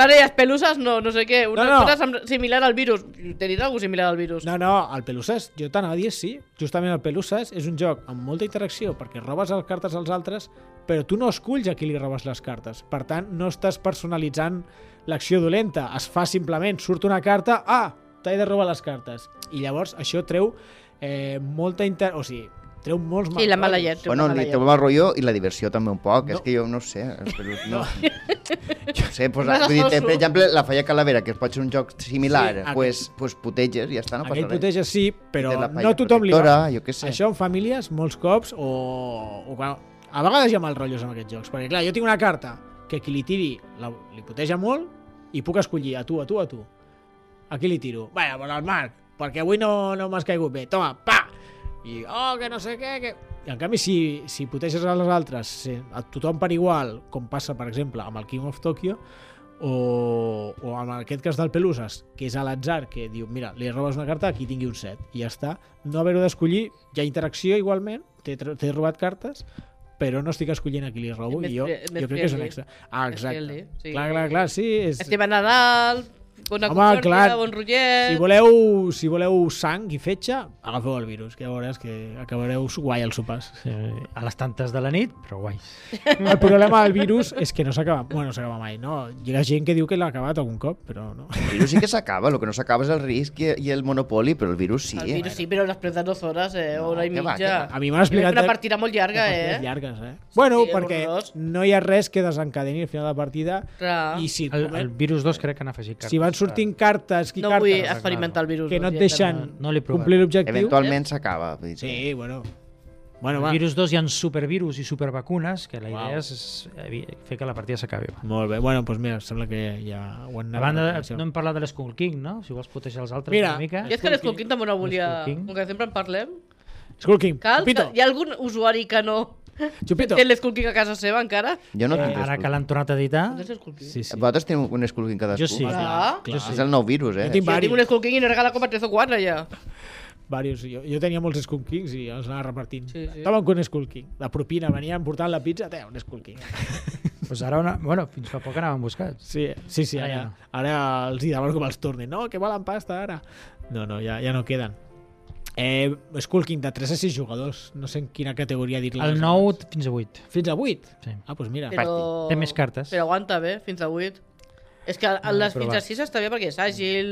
Vale, i les peluses no, no sé què. Una
No, no.
cosa sem- similar al virus. Te diré alguna cosa similar al virus.
No, no, el Peluses, jo t'anava a dir sí. Justament el Peluses és un joc amb molta interacció perquè robes les cartes als altres, però tu no esculls a qui li robes les cartes. Per tant, no estàs personalitzant l'acció dolenta. Es fa simplement, surt una carta, ah, t'he de robar les cartes. I llavors això treu eh, molta inter... O sigui, treu molts
Sí, la mala
rotllos.
llet. té una
bueno,
mala
li
llet.
treu el rotllo i la diversió també un poc.
No.
No. És que jo no ho sé. Però no. sé, pues,
Vas a
vull dir,
fer-s'ho.
per exemple, la Falla Calavera, que pot ser un joc similar,
Sí,
sí,
aqu-
pues, pues puteges i ja està, no passa
Aquell
res.
puteja sí, però
Té la
no
palla
tothom li
protectora,
va.
jo què sé.
Això en famílies, molts cops, o... o quan... A vegades hi ha mal rotllos amb aquests jocs, perquè clar, jo tinc una carta que qui li tiri la... li puteja molt i puc escollir a tu, a tu, a tu. A qui li tiro? Vaja, bon al Marc, perquè avui no, no m'has caigut bé. Toma, pa! I, oh, que no sé què, que... I en canvi, si, si puteges a les altres, si, a tothom per igual, com passa, per exemple, amb el King of Tokyo, o, o en aquest cas del Peluses, que és a l'atzar, que diu, mira, li robes una carta, aquí tingui un set, i ja està. No haver-ho d'escollir, hi ha interacció igualment, t'he tr- t'he robat cartes, però no estic escollint a qui li robo,
Més
i jo,
fri- més
jo crec que és un
friendly.
extra. Ah,
Més
exacte.
friendly, sí.
Clar, clar, clar, sí. És...
Esteve Nadal, bona
Home,
consòrcia,
clar.
bon rotllet...
Si voleu, si voleu sang i fetge, agafeu el virus, que ja veuràs que acabareu guai els sopars.
Sí, a les tantes de la nit, però guai.
El problema del virus és que no s'acaba, bueno, no s'acaba mai, no? Hi ha gent que diu que l'ha acabat algun cop, però no.
El virus sí que s'acaba, el que no s'acaba és el risc i, i el monopoli, però el virus sí. eh?
El virus sí, però després de dues hores, eh?
No,
hora i
que va,
mitja.
que
A mi m'han explicat...
Una partida molt llarga,
partides
eh?
llargues, eh? Bueno,
Sí,
perquè
horrorós.
no hi ha res que desencadeni al final de la partida
Clar.
i si,
El, el virus 2 crec que n'ha afegit cartes.
si van sortint cartes i
No vull
cartes
experimentar el virus.
que no et
directament.
deixen
No, no l'he provat.
complir l'objectiu...
Eventualment s'acaba. vull dir que-
eh? Sí, bueno... Bueno,
El
va.
virus 2 hi ha supervirus i supervacunes, que la idea
Uau.
és, és evi- fer que la partida s'acabi. va.
Molt bé, bueno, doncs mira, sembla que ja ho han
A banda, no hem parlat de l'Skull King, no? Si vols proteger els altres
Mira,
una mica.
Jo és que l'Skull King també no volia...
King.
Com que sempre en parlem...
Skull King,
Cal,
Chupito,
hi ha algun usuari que no
Chupito.
té l'Skull King a casa seva encara?
Jo
Eh,
no tinc
Ara
Skull
que l'han tornat a editar,
No tens Skull King?
Sí, sí.
Vosaltres teniu un Skull King cadascú?
jo sí.
Clar.
Clar.
És el nou virus, eh?
Jo tinc
Jo
Vari.
tinc un Skull King i n'he regalat com a 3 o 4 ja.
Varios. Jo, jo tenia molts Skull Kings i els anava repartint.
Sí, sí.
Toma un Skull King. La propina, venien portant la pizza, té un Skull King.
Pues doncs ara una... Bueno, fins fa poc anaven buscats.
Sí, sí, sí
Ara ja
ara,
no.
ara els hi demano que me'ls tornin. No, que volen pasta ara. No, no, ja, ja no queden. Eh, Skull King de 3 a 6 jugadors. No sé en quina categoria dir-li.
El 9 fins a 8.
Fins a 8?
Sí.
Ah, doncs mira.
Però...
Té més cartes.
Però aguanta bé, fins a 8. És que a les
però
fins a
va.
6 està bé perquè és àgil,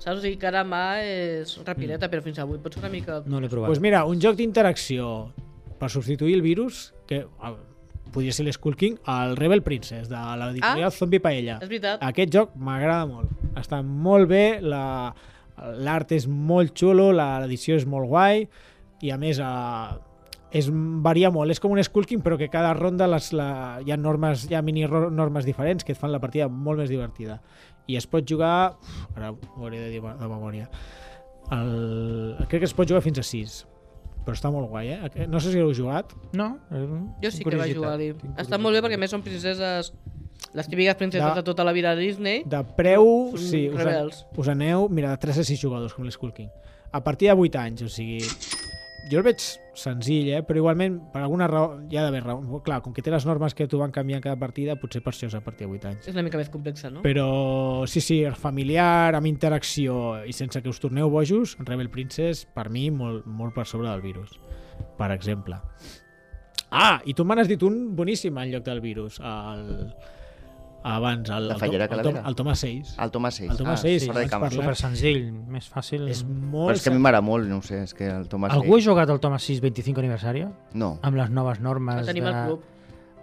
saps? O sigui, cara a mà és rapideta, però fins a 8 pot ser una mica...
No l'he provat.
Doncs pues mira, un joc d'interacció per substituir el virus, que ah, podria ser l'Skull King, el Rebel Princess, de l'editorial
Ah.
ah. Zombie Paella.
És veritat.
Aquest joc m'agrada molt. Està molt bé, la- l'art és molt xulo, la- l'edició és molt guai, i a més eh, és, varia molt. És com un skulking, però que cada ronda les, la, hi ha, normes, hi ha mini ro- normes diferents que et fan la partida molt més divertida. I es pot jugar... Uf, ara ho hauré de dir de memòria. El, crec que es pot jugar fins a 6 però està molt guai, eh? Aquest- No sé si heu jugat.
No, eh,
Jo sí que vaig jugar-hi. Està molt bé perquè a més són princeses... Les típiques princeses
De-
de tota la vida de Disney.
De preu,
Són
sí, us, a,
rebels.
us aneu, mira, de 3 a 6 jugadors, com l'Skull King. A partir de 8 anys, o sigui... Jo el veig senzill, eh? però igualment, per alguna raó, hi ha d'haver raó. Clar, com que té les normes que tu van canviar cada partida, potser per això és a partir de 8 anys.
És una mica més complexa, no?
Però sí, sí, familiar, amb interacció i sense que us torneu bojos, Rebel Princess, per mi, molt, molt per sobre del virus, per exemple. Ah, i tu me n'has dit un boníssim en lloc del virus, el... abans, el,
La
el,
Fallera
Tom- el, Tom-
Calavera.
el Thomas 6.
El Ah, Thomas 6.
El Thomas 6,
fora de
vaig
càmera.
parlar.
Super senzill, més fàcil.
És
Però
molt...
és que a mi m'agrada molt, no ho sé, és que el Thomas
Algú ha
6...
jugat al Thomas 6 25 aniversari?
No.
Ah,
Amb les noves normes
El tenim
de...
al club.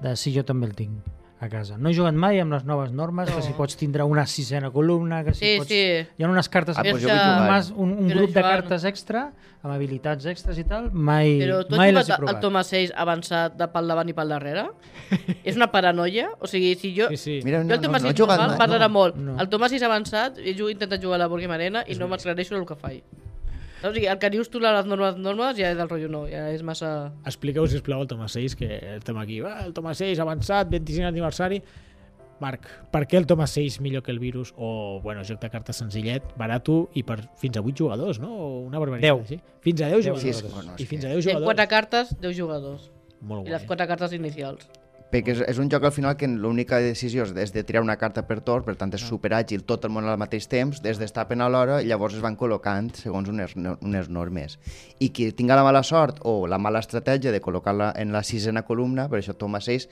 de si jo també el tinc a casa. No he jugat mai amb les noves normes,
No.
que si pots tindre una sisena columna, que si
Sí,
pots...
sí.
Hi ha unes cartes...
Ah,
que
doncs jo
És
vull
que-
un,
jugar.
mas- un, un
Però,
grup de
Joan-
cartes extra, amb habilitats extres i tal, mai,
Però tu
mai
has
les he
jugat al
provat.
Thomas 6 avançat de pel davant i pel darrere? és una paranoia? O sigui, si jo...
Sí, sí.
Mira,
Jo
no,
el
no,
Thomas
no, he
6
jugat
normal
mai.
parlarà
no,
molt.
no.
El Thomas 6 avançat, jo he intentat jugar a la Burgui Arena i no m'aclareixo el que faig. O sigui, el que dius tu de les normes, normes ja és del rotllo no, ja és massa...
Expliqueu, sisplau, el Thomas 6, que estem aquí. Ah, el Thomas 6 avançat, 25 aniversari. Marc, per què el Thomas 6 millor que el virus? O, bueno, joc de cartes senzillet, barato i per fins a 8 jugadors, no? O Una barbaritat.
Deu.
Sí? Fins a 10 jugadors.
Sí, és- bueno, és
I fins a
que-
10
Hi ha
jugadors.
quatre cartes, 10 jugadors.
Molt
I les
guai. eh?
quatre cartes inicials.
Perquè és, és un joc al final que l'única decisió és, és de tirar una carta per torn, per tant és superàgil, tot el món al mateix temps, des d'estapen a l'hora, i llavors es van col·locant segons unes, no- unes normes. I qui tinga la mala sort o la mala estratègia de col·locar-la en la sisena columna, per això toma 6,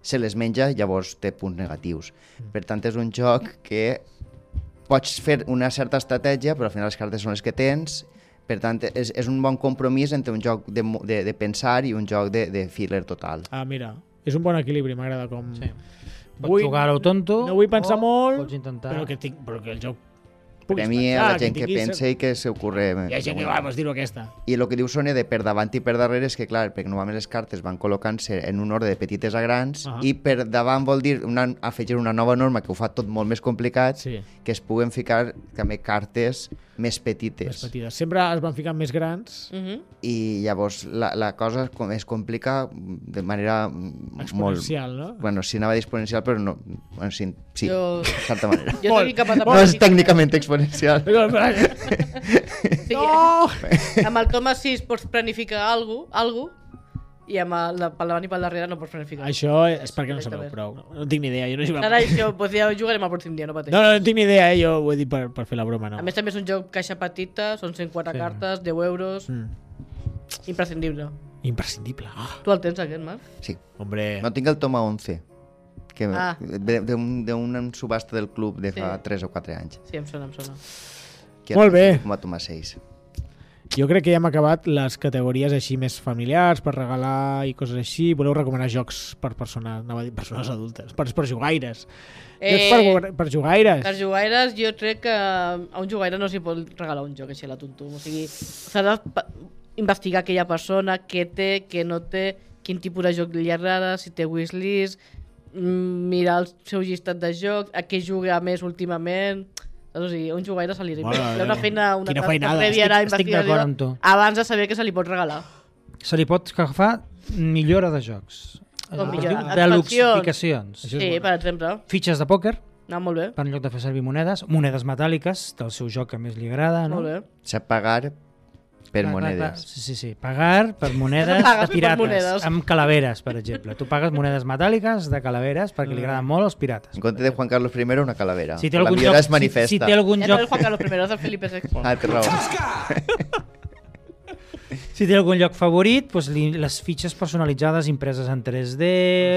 se les menja, llavors té punts negatius. Per tant, és un joc que pots fer una certa estratègia, però al final les cartes són les que tens, per tant, és, és un bon compromís entre un joc de, mo- de, de pensar i un joc de, de filler total.
Ah, mira, és un bon equilibri, m'agrada com...
Sí. Pots
Vull-
jugar a lo tonto.
no vull pensar
o
molt,
Pots intentar...
Però que, tinc, però que el joc...
Per a mi,
puguis
a la
pensar,
gent que
tinguis-
pensa i que eh, s'ocorre...
Hi ha gent que va, pues dir-ho aquesta.
I el que diu Sònia de per davant i per darrere és que, clar, perquè normalment les cartes van col·locant-se en un ordre de petites a grans
Ahà.
i per davant vol dir una, afegir una nova norma que ho fa tot molt més complicat,
Sí.
que es puguen ficar també cartes més petites.
Més petites. Sempre es van ficant més grans.
Mhm.
I llavors la, la cosa com es complica de manera mm, molt...
Exponencial, no?
Bueno, sí anava d'exponencial, però no... Bueno, sí, sí
Jo-
de certa manera.
Jo
Molt.
estic capaç de
No és
practicar.
tècnicament exponencial.
Sí,
No!
Amb el Thomas 6 pots planificar algo, algo i amb el de pel davant i pel darrere no pots planificar.
Això és perquè no sabeu prou. No tinc ni idea, jo no he jugat.
Ara això, doncs ja jugarem el pròxim dia, no pateix.
No, no, no tinc ni idea, eh? jo ho he dit per, per fer la broma, no.
A més també és un joc caixa petita, són 104
Sí.
cartes, 10 euros,
Mm.
imprescindible.
Imprescindible. Ah,
Tu el tens aquest, Marc?
Sí.
hombre.
No tinc el toma 11 que
Ah.
ah. d'un subhasta del club de fa
Sí.
3 o 4 anys.
Sí, em sona, em sona.
Que
Molt bé.
Com a toma 6.
Jo crec que ja hem acabat les categories així més familiars, per regalar i coses així. Voleu recomanar jocs per persones, anava a dir persones adultes, per, per jugaires.
Eh,
Eh, jocs per, per jugaires.
Per jugaires, jo crec que a un jugaire no s'hi pot regalar un joc així a la tontum. O sigui, s'ha de pa- investigar aquella persona, què té, què no té, quin tipus de joc li agrada, si té wishlist, mm, mirar el seu llistat de jocs, a què juga més últimament... Saps? O sigui, a un jugaire se li
Mare
Hi ha una
meva.
feina, una
Quina
tasca
feinada.
prèvia
Estic-
a la
estic
investigació
d'acord amb tu.
abans de saber què se li pot regalar.
Se li pot agafar millora de jocs.
Com millora?
Es diu
Expansions.
Deluxificacions.
Això és
Sí,
bona.
per exemple.
Fitxes de pòquer,
Anar molt bé.
per en lloc de fer servir monedes, monedes metàl·liques del seu joc que més li agrada, no?
Molt bé.
Sap pagar per
Clar, clar, clar.
monedes.
Sí, sí, sí. Pagar per monedes
Pagues per
pirates,
monedes.
amb calaveres, per exemple. Tu pagues monedes metàl·liques de calaveres
Mm.
perquè li agraden molt els pirates.
En compte de Juan Carlos I, una calavera.
Si té
la
algun
millora
joc,
es manifesta.
Si, si té algun
Ja no és
joc,
Juan Carlos I, és el Felipe VI.
Ah, té raó.
si té algun lloc favorit, doncs li, les fitxes personalitzades impreses en 3D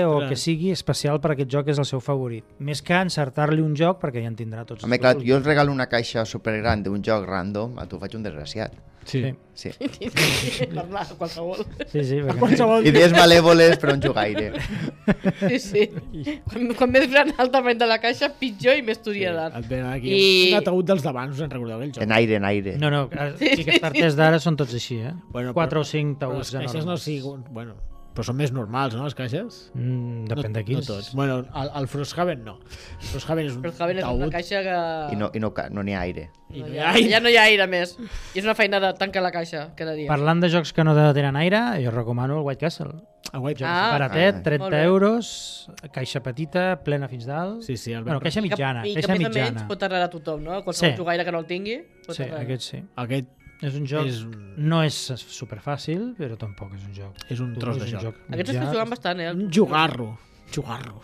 o
Ostres.
que sigui especial per aquest joc és el seu favorit. Més que encertar-li un joc perquè ja en tindrà tots.
Home, clar, jo els regalo una caixa supergran d'un joc random, a tu faig un desgraciat.
Sí.
Sí.
Sí.
Parlar a qualsevol.
Sí, sí, perquè...
Qualsevol dia.
Idees malèvoles, però un jugaire.
Sí, sí. Quan, quan més gran el tamany de la caixa, pitjor i més t'orientat.
Et venen aquí
I-
I... un ataúd dels davants, us en recordeu aquell joc?
En aire, en aire.
No, no, eh, sí, sí, que els parters d'ara són tots així, eh?
Bueno,
Bueno,
però-
4 o 5
Però
taüts
les caixes no siguin... Bueno, però són més normals, no, les caixes?
Mm, depèn
no,
de quins.
No tots. Bueno, el, el Frosthaven no. Frosthaven és un
Però el Javen és una
taüt
caixa que...
I no i no, ca- no n'hi ha aire.
i no hi
Ja,
ha aire.
ja no hi ha aire més. I és una feina de tancar la caixa cada dia.
Parlant de jocs que no tenen aire, jo recomano el White Castle.
El White Jones.
Ah.
Baratet,
Ah,
30
molt bé.
euros, caixa petita, plena fins dalt.
Sí, sí, el
bueno,
Bernat.
caixa
I que,
mitjana,
i que
caixa
més o menys
mitjana.
pot agradar a tothom, no? Qualsevol
Sí.
sí. jugaire que no el tingui pot
Sí,
agradar.
aquest sí.
Aquest
És un joc...
és un,
No és superfàcil, però tampoc és un joc.
és un tros de
És un
joc.
Aquests
mitjà.
estic jugant bastant, eh? El...
Mm.
Un jugarro. Jugarro.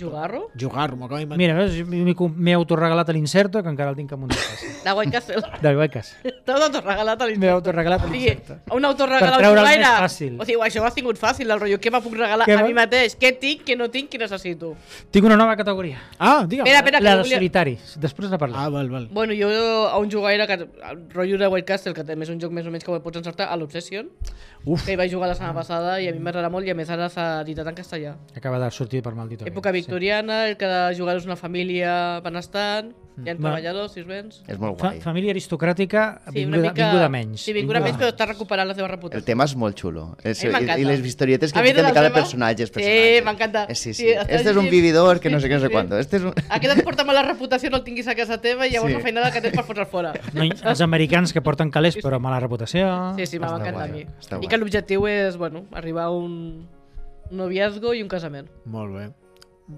Jugarro?
Jugarro, m'ho acabo d'inventar.
Mira, veus, jo m'he com- m'he autorregalat l'incerto, que encara el tinc amb un de
De White Castle.
Del White Castle.
T'has autorregalat a
M'he
l'internet.
autorregalat
O sigui,
l'incerto.
un autorregal
Per
a un
treure'l
jugaire.
més fàcil.
O sigui, això m'ha tingut fàcil, el rotllo. Què me puc regalar
Què
a
va?
mi mateix? Què tinc, què no tinc, què necessito?
Tinc una nova categoria.
Ah, digue'm.
Espera, espera,
La
que
de
volia...
solitaris. Després la parlem.
Ah, val, val.
Bueno, jo a un jugaire que, el rotllo de White Castle, que també és un joc més o menys que ho pots encertar, a l'Obsession,
Uf,
que hi vaig jugar la setmana passada i a mi m'agrada molt i a més ara s'ha editat en castellà.
Acaba de sortir per maldito.
Ah. Època victoriana, el que de jugar és una família benestant, hi ha treballadors, si us vens...
És molt
Fa
guai.
família aristocràtica vinguda, vinguda menys.
Sí, vinguda menys, però està recuperant la seva
El
reputació.
tema és molt xulo. És,
A mi m'encanta.
I les historietes que
A mi
fiquen de
tot el
cada
tema-
personatge. és
Sí,
personatge.
m'encanta.
Eh, Sí,
Sí,
sí.
estàs
Este és un
llegint-
vividor que no sé què, no sé
Sí.
quant. Este és un... Ah,
Aquest et porta mala reputació, no el tinguis a casa teva i llavors
Sí.
la feinada que tens per fotre'l fora.
No, els americans que porten calés però mala reputació.
Sí, sí,
Està
m'encanta a
guai,
mi.
està
I
guai.
que l'objectiu és, bueno, arribar a un un noviazgo i un casament.
molt bé.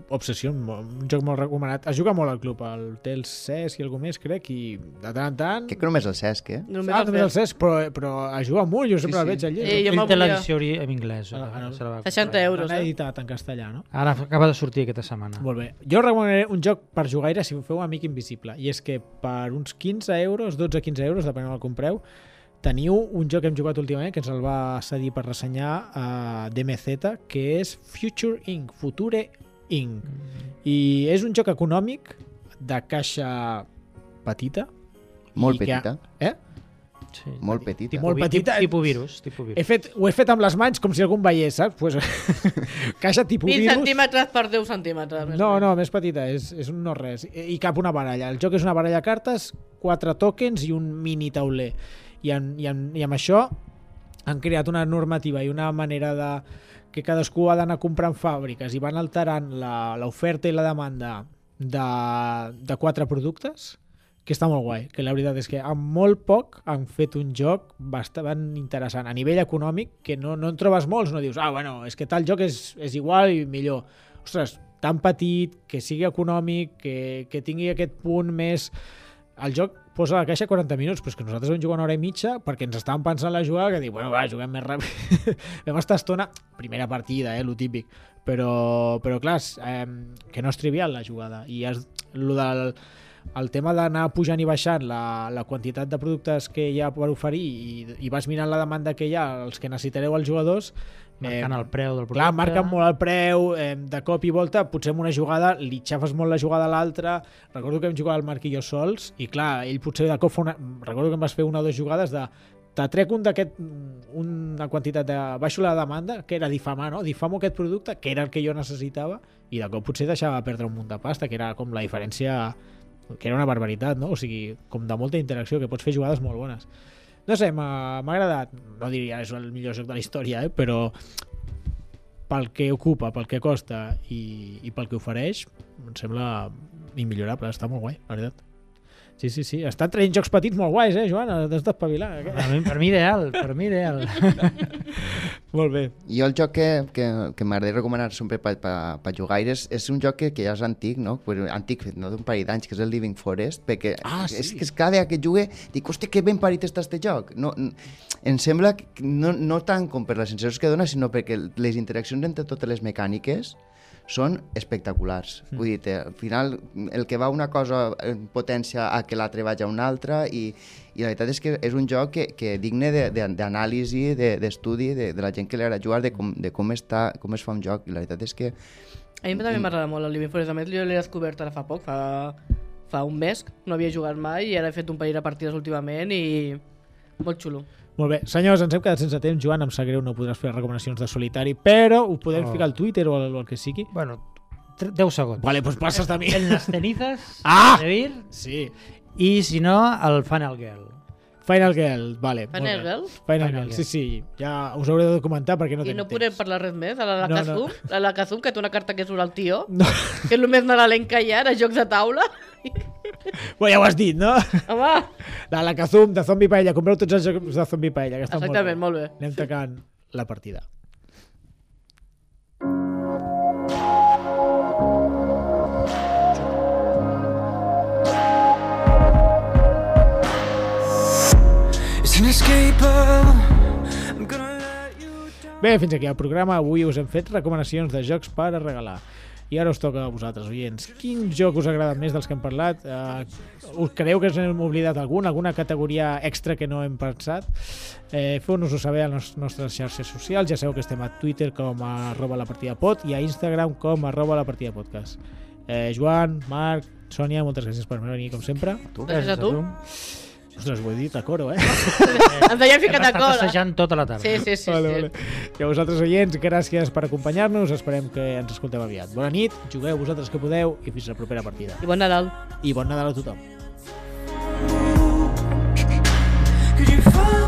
Obsessió, mo- un joc molt recomanat. Es juga molt al club, al té el Cesc i algú més, crec, i de tant en tant...
Crec que només el Cesc, eh?
Només
Ah,
el
també
fer.
el Cesc, però, però es juga molt, jo sempre el
Sí, sí.
veig allà.
Eh, jo
Ell té
m'hauria-
l'edició ori- en anglès.
Ah,
ara
no.
se la va
60
comprar.
euros,
L'han
eh?
editat en castellà, no?
Ara acaba de sortir aquesta setmana.
Ah.
Molt bé. Jo recomanaré un joc per jugaire si feu amic invisible. I és que per uns 15 euros, 12-15 euros, depenent on el compreu, teniu un joc que hem jugat últimament, que ens el va cedir per ressenyar eh, a DMZ, que és Future Inc. Future Inc.
Mm.
I és un joc econòmic de caixa petita.
Molt
i que-
petita.
Eh?
Sí,
Molt petita.
Molt
vi-
petita.
Tipus, tipus virus. Tipus
He
virus.
fet, ho he fet amb les mans com si algú em veiés, saps? Pues, caixa tipus
20
virus.
centímetres per 10 centímetres. més
No,
o menys.
no, més petita, és, és un no-res. I, I cap una baralla. El joc és una baralla de cartes, quatre tokens i un mini tauler. I, en, i, en, i amb això han creat una normativa i una manera de que cadascú ha d'anar comprant fàbriques i van alterant la- l'oferta i la demanda de, de quatre productes que està molt guai, que la veritat és que amb molt poc han fet un joc bastant interessant, a nivell econòmic que no, no en trobes molts, no dius ah, bueno, és que tal joc és, és igual i millor ostres, tan petit, que sigui econòmic, que, que tingui aquest punt més... El joc posa a la caixa 40 minuts, però és que nosaltres vam jugar una hora i mitja perquè ens estàvem pensant la jugada, que dic, bueno, va, juguem més ràpid. vam estar estona, primera partida, eh, lo típic, però, però clar, és, eh, que no és trivial la jugada, i és lo del el tema d'anar pujant i baixant la, la quantitat de productes que hi ha per oferir i, i vas mirant la demanda que hi ha, els que necessitareu els jugadors
Marcant el preu del producte.
Clar, marquen molt el preu, eh, de cop i volta, potser en una jugada li xafes molt la jugada a l'altra. Recordo que vam jugar al Marc i jo sols, i clar, ell potser de cop fa una... Recordo que em vas fer una o dues jugades de te trec un d'aquest una quantitat de... baixo la demanda, que era difamar, no? Difamo aquest producte, que era el que jo necessitava, i de cop potser deixava perdre un munt de pasta, que era com la diferència que era una barbaritat, no? O sigui, com de molta interacció, que pots fer jugades molt bones. No sé, m'ha m'ha agradat. No diria és el millor joc de la història, eh? però pel que ocupa, pel que costa i, i pel que ofereix, em sembla immillorable, està molt guai, la veritat. Sí, sí, sí. Estan traient jocs petits molt guais, eh, Joan? Has d'espavilar. eh?
Per mi, per mi ideal, per mi ideal.
Molt bé.
Jo el joc que, que, que m'agradaria recomanar sempre per pa, pa jugar és, és un joc que, que ja és antic, no? Però antic, no d'un parell d'anys, que és el Living Forest, perquè
Ah, sí.
és que és cada dia que jugue dic, hòstia, que ben parit està este joc. No, n- em sembla que no, no tant com per les sensacions que dona, sinó perquè les interaccions entre totes les mecàniques són espectaculars. Mm. Vull dir, te- al final el que va una cosa en potència a que l'altre vaig a una altra i, i la veritat és que és un joc que, que digne de- de- d'anàlisi, de- d'estudi, de, de, de la gent que li agrada jugar, de com, de com, està, com es fa un joc. I la veritat és que
A mi també m'agrada molt el Living Forest. A més, jo l'he descobert ara fa poc, fa, fa un mes. No havia jugat mai i ara he fet un parell de partides últimament i... Molt xulo.
Molt bé. Senyors, ens hem quedat sense temps. Joan, em sap greu, no podràs fer les recomanacions de solitari, però ho podem
Oh.
ficar al Twitter o al, o al que sigui.
bueno, tre- 10 segons.
Vale, doncs passes de mi.
En las cenizas
Ah!
de Vir
Sí.
i, si no, el Funnel Girl.
Final Girl, vale. molt
Final
bé.
Girl?
Final,
Final
Girl,
Girl.
sí, sí. Ja us hauré de documentar perquè no
I
tenim
no podem
temps.
parlar res més. A la, la
No,
no,
no.
Kazum, a la Kazum, que té una carta que surt al tio,
No.
que és el més nadalenc que hi ha, de jocs de taula.
Bueno, ja ho has dit, no?
Home,
De la Kazum, de Zombie Paella. Compreu tots els jocs de Zombie Paella, que estan
exactament,
molt bé.
molt bé.
Anem tacant la partida.
It's inescapable. I'm gonna let you down.
Bé, fins aquí el programa. Avui us hem fet recomanacions de jocs per a regalar. I ara us toca a vosaltres, oients. Quin joc us agrada més dels que hem parlat? Eh, us creieu que ens hem oblidat algun? Alguna categoria extra que no hem pensat? Eh, Feu-nos-ho saber a les nostres xarxes socials. Ja sabeu que estem a Twitter com a arroba la partida pot i a Instagram com a arroba la partida podcast. Eh, Joan, Marc, Sònia, moltes gràcies per venir, com sempre.
Gràcies a tu.
Ostres, ho he dit a coro, eh?
Ens havíem
Hem
ficat a
estat
cola.
assajant tota la tarda.
Sí, sí, sí.
vale,
sí.
vale. I a vosaltres, oients, gràcies per acompanyar-nos. Esperem que ens escoltem aviat. Bona nit, jugueu vosaltres que podeu i fins la propera partida.
I bon Nadal.
I bon Nadal a tothom.
Could you find?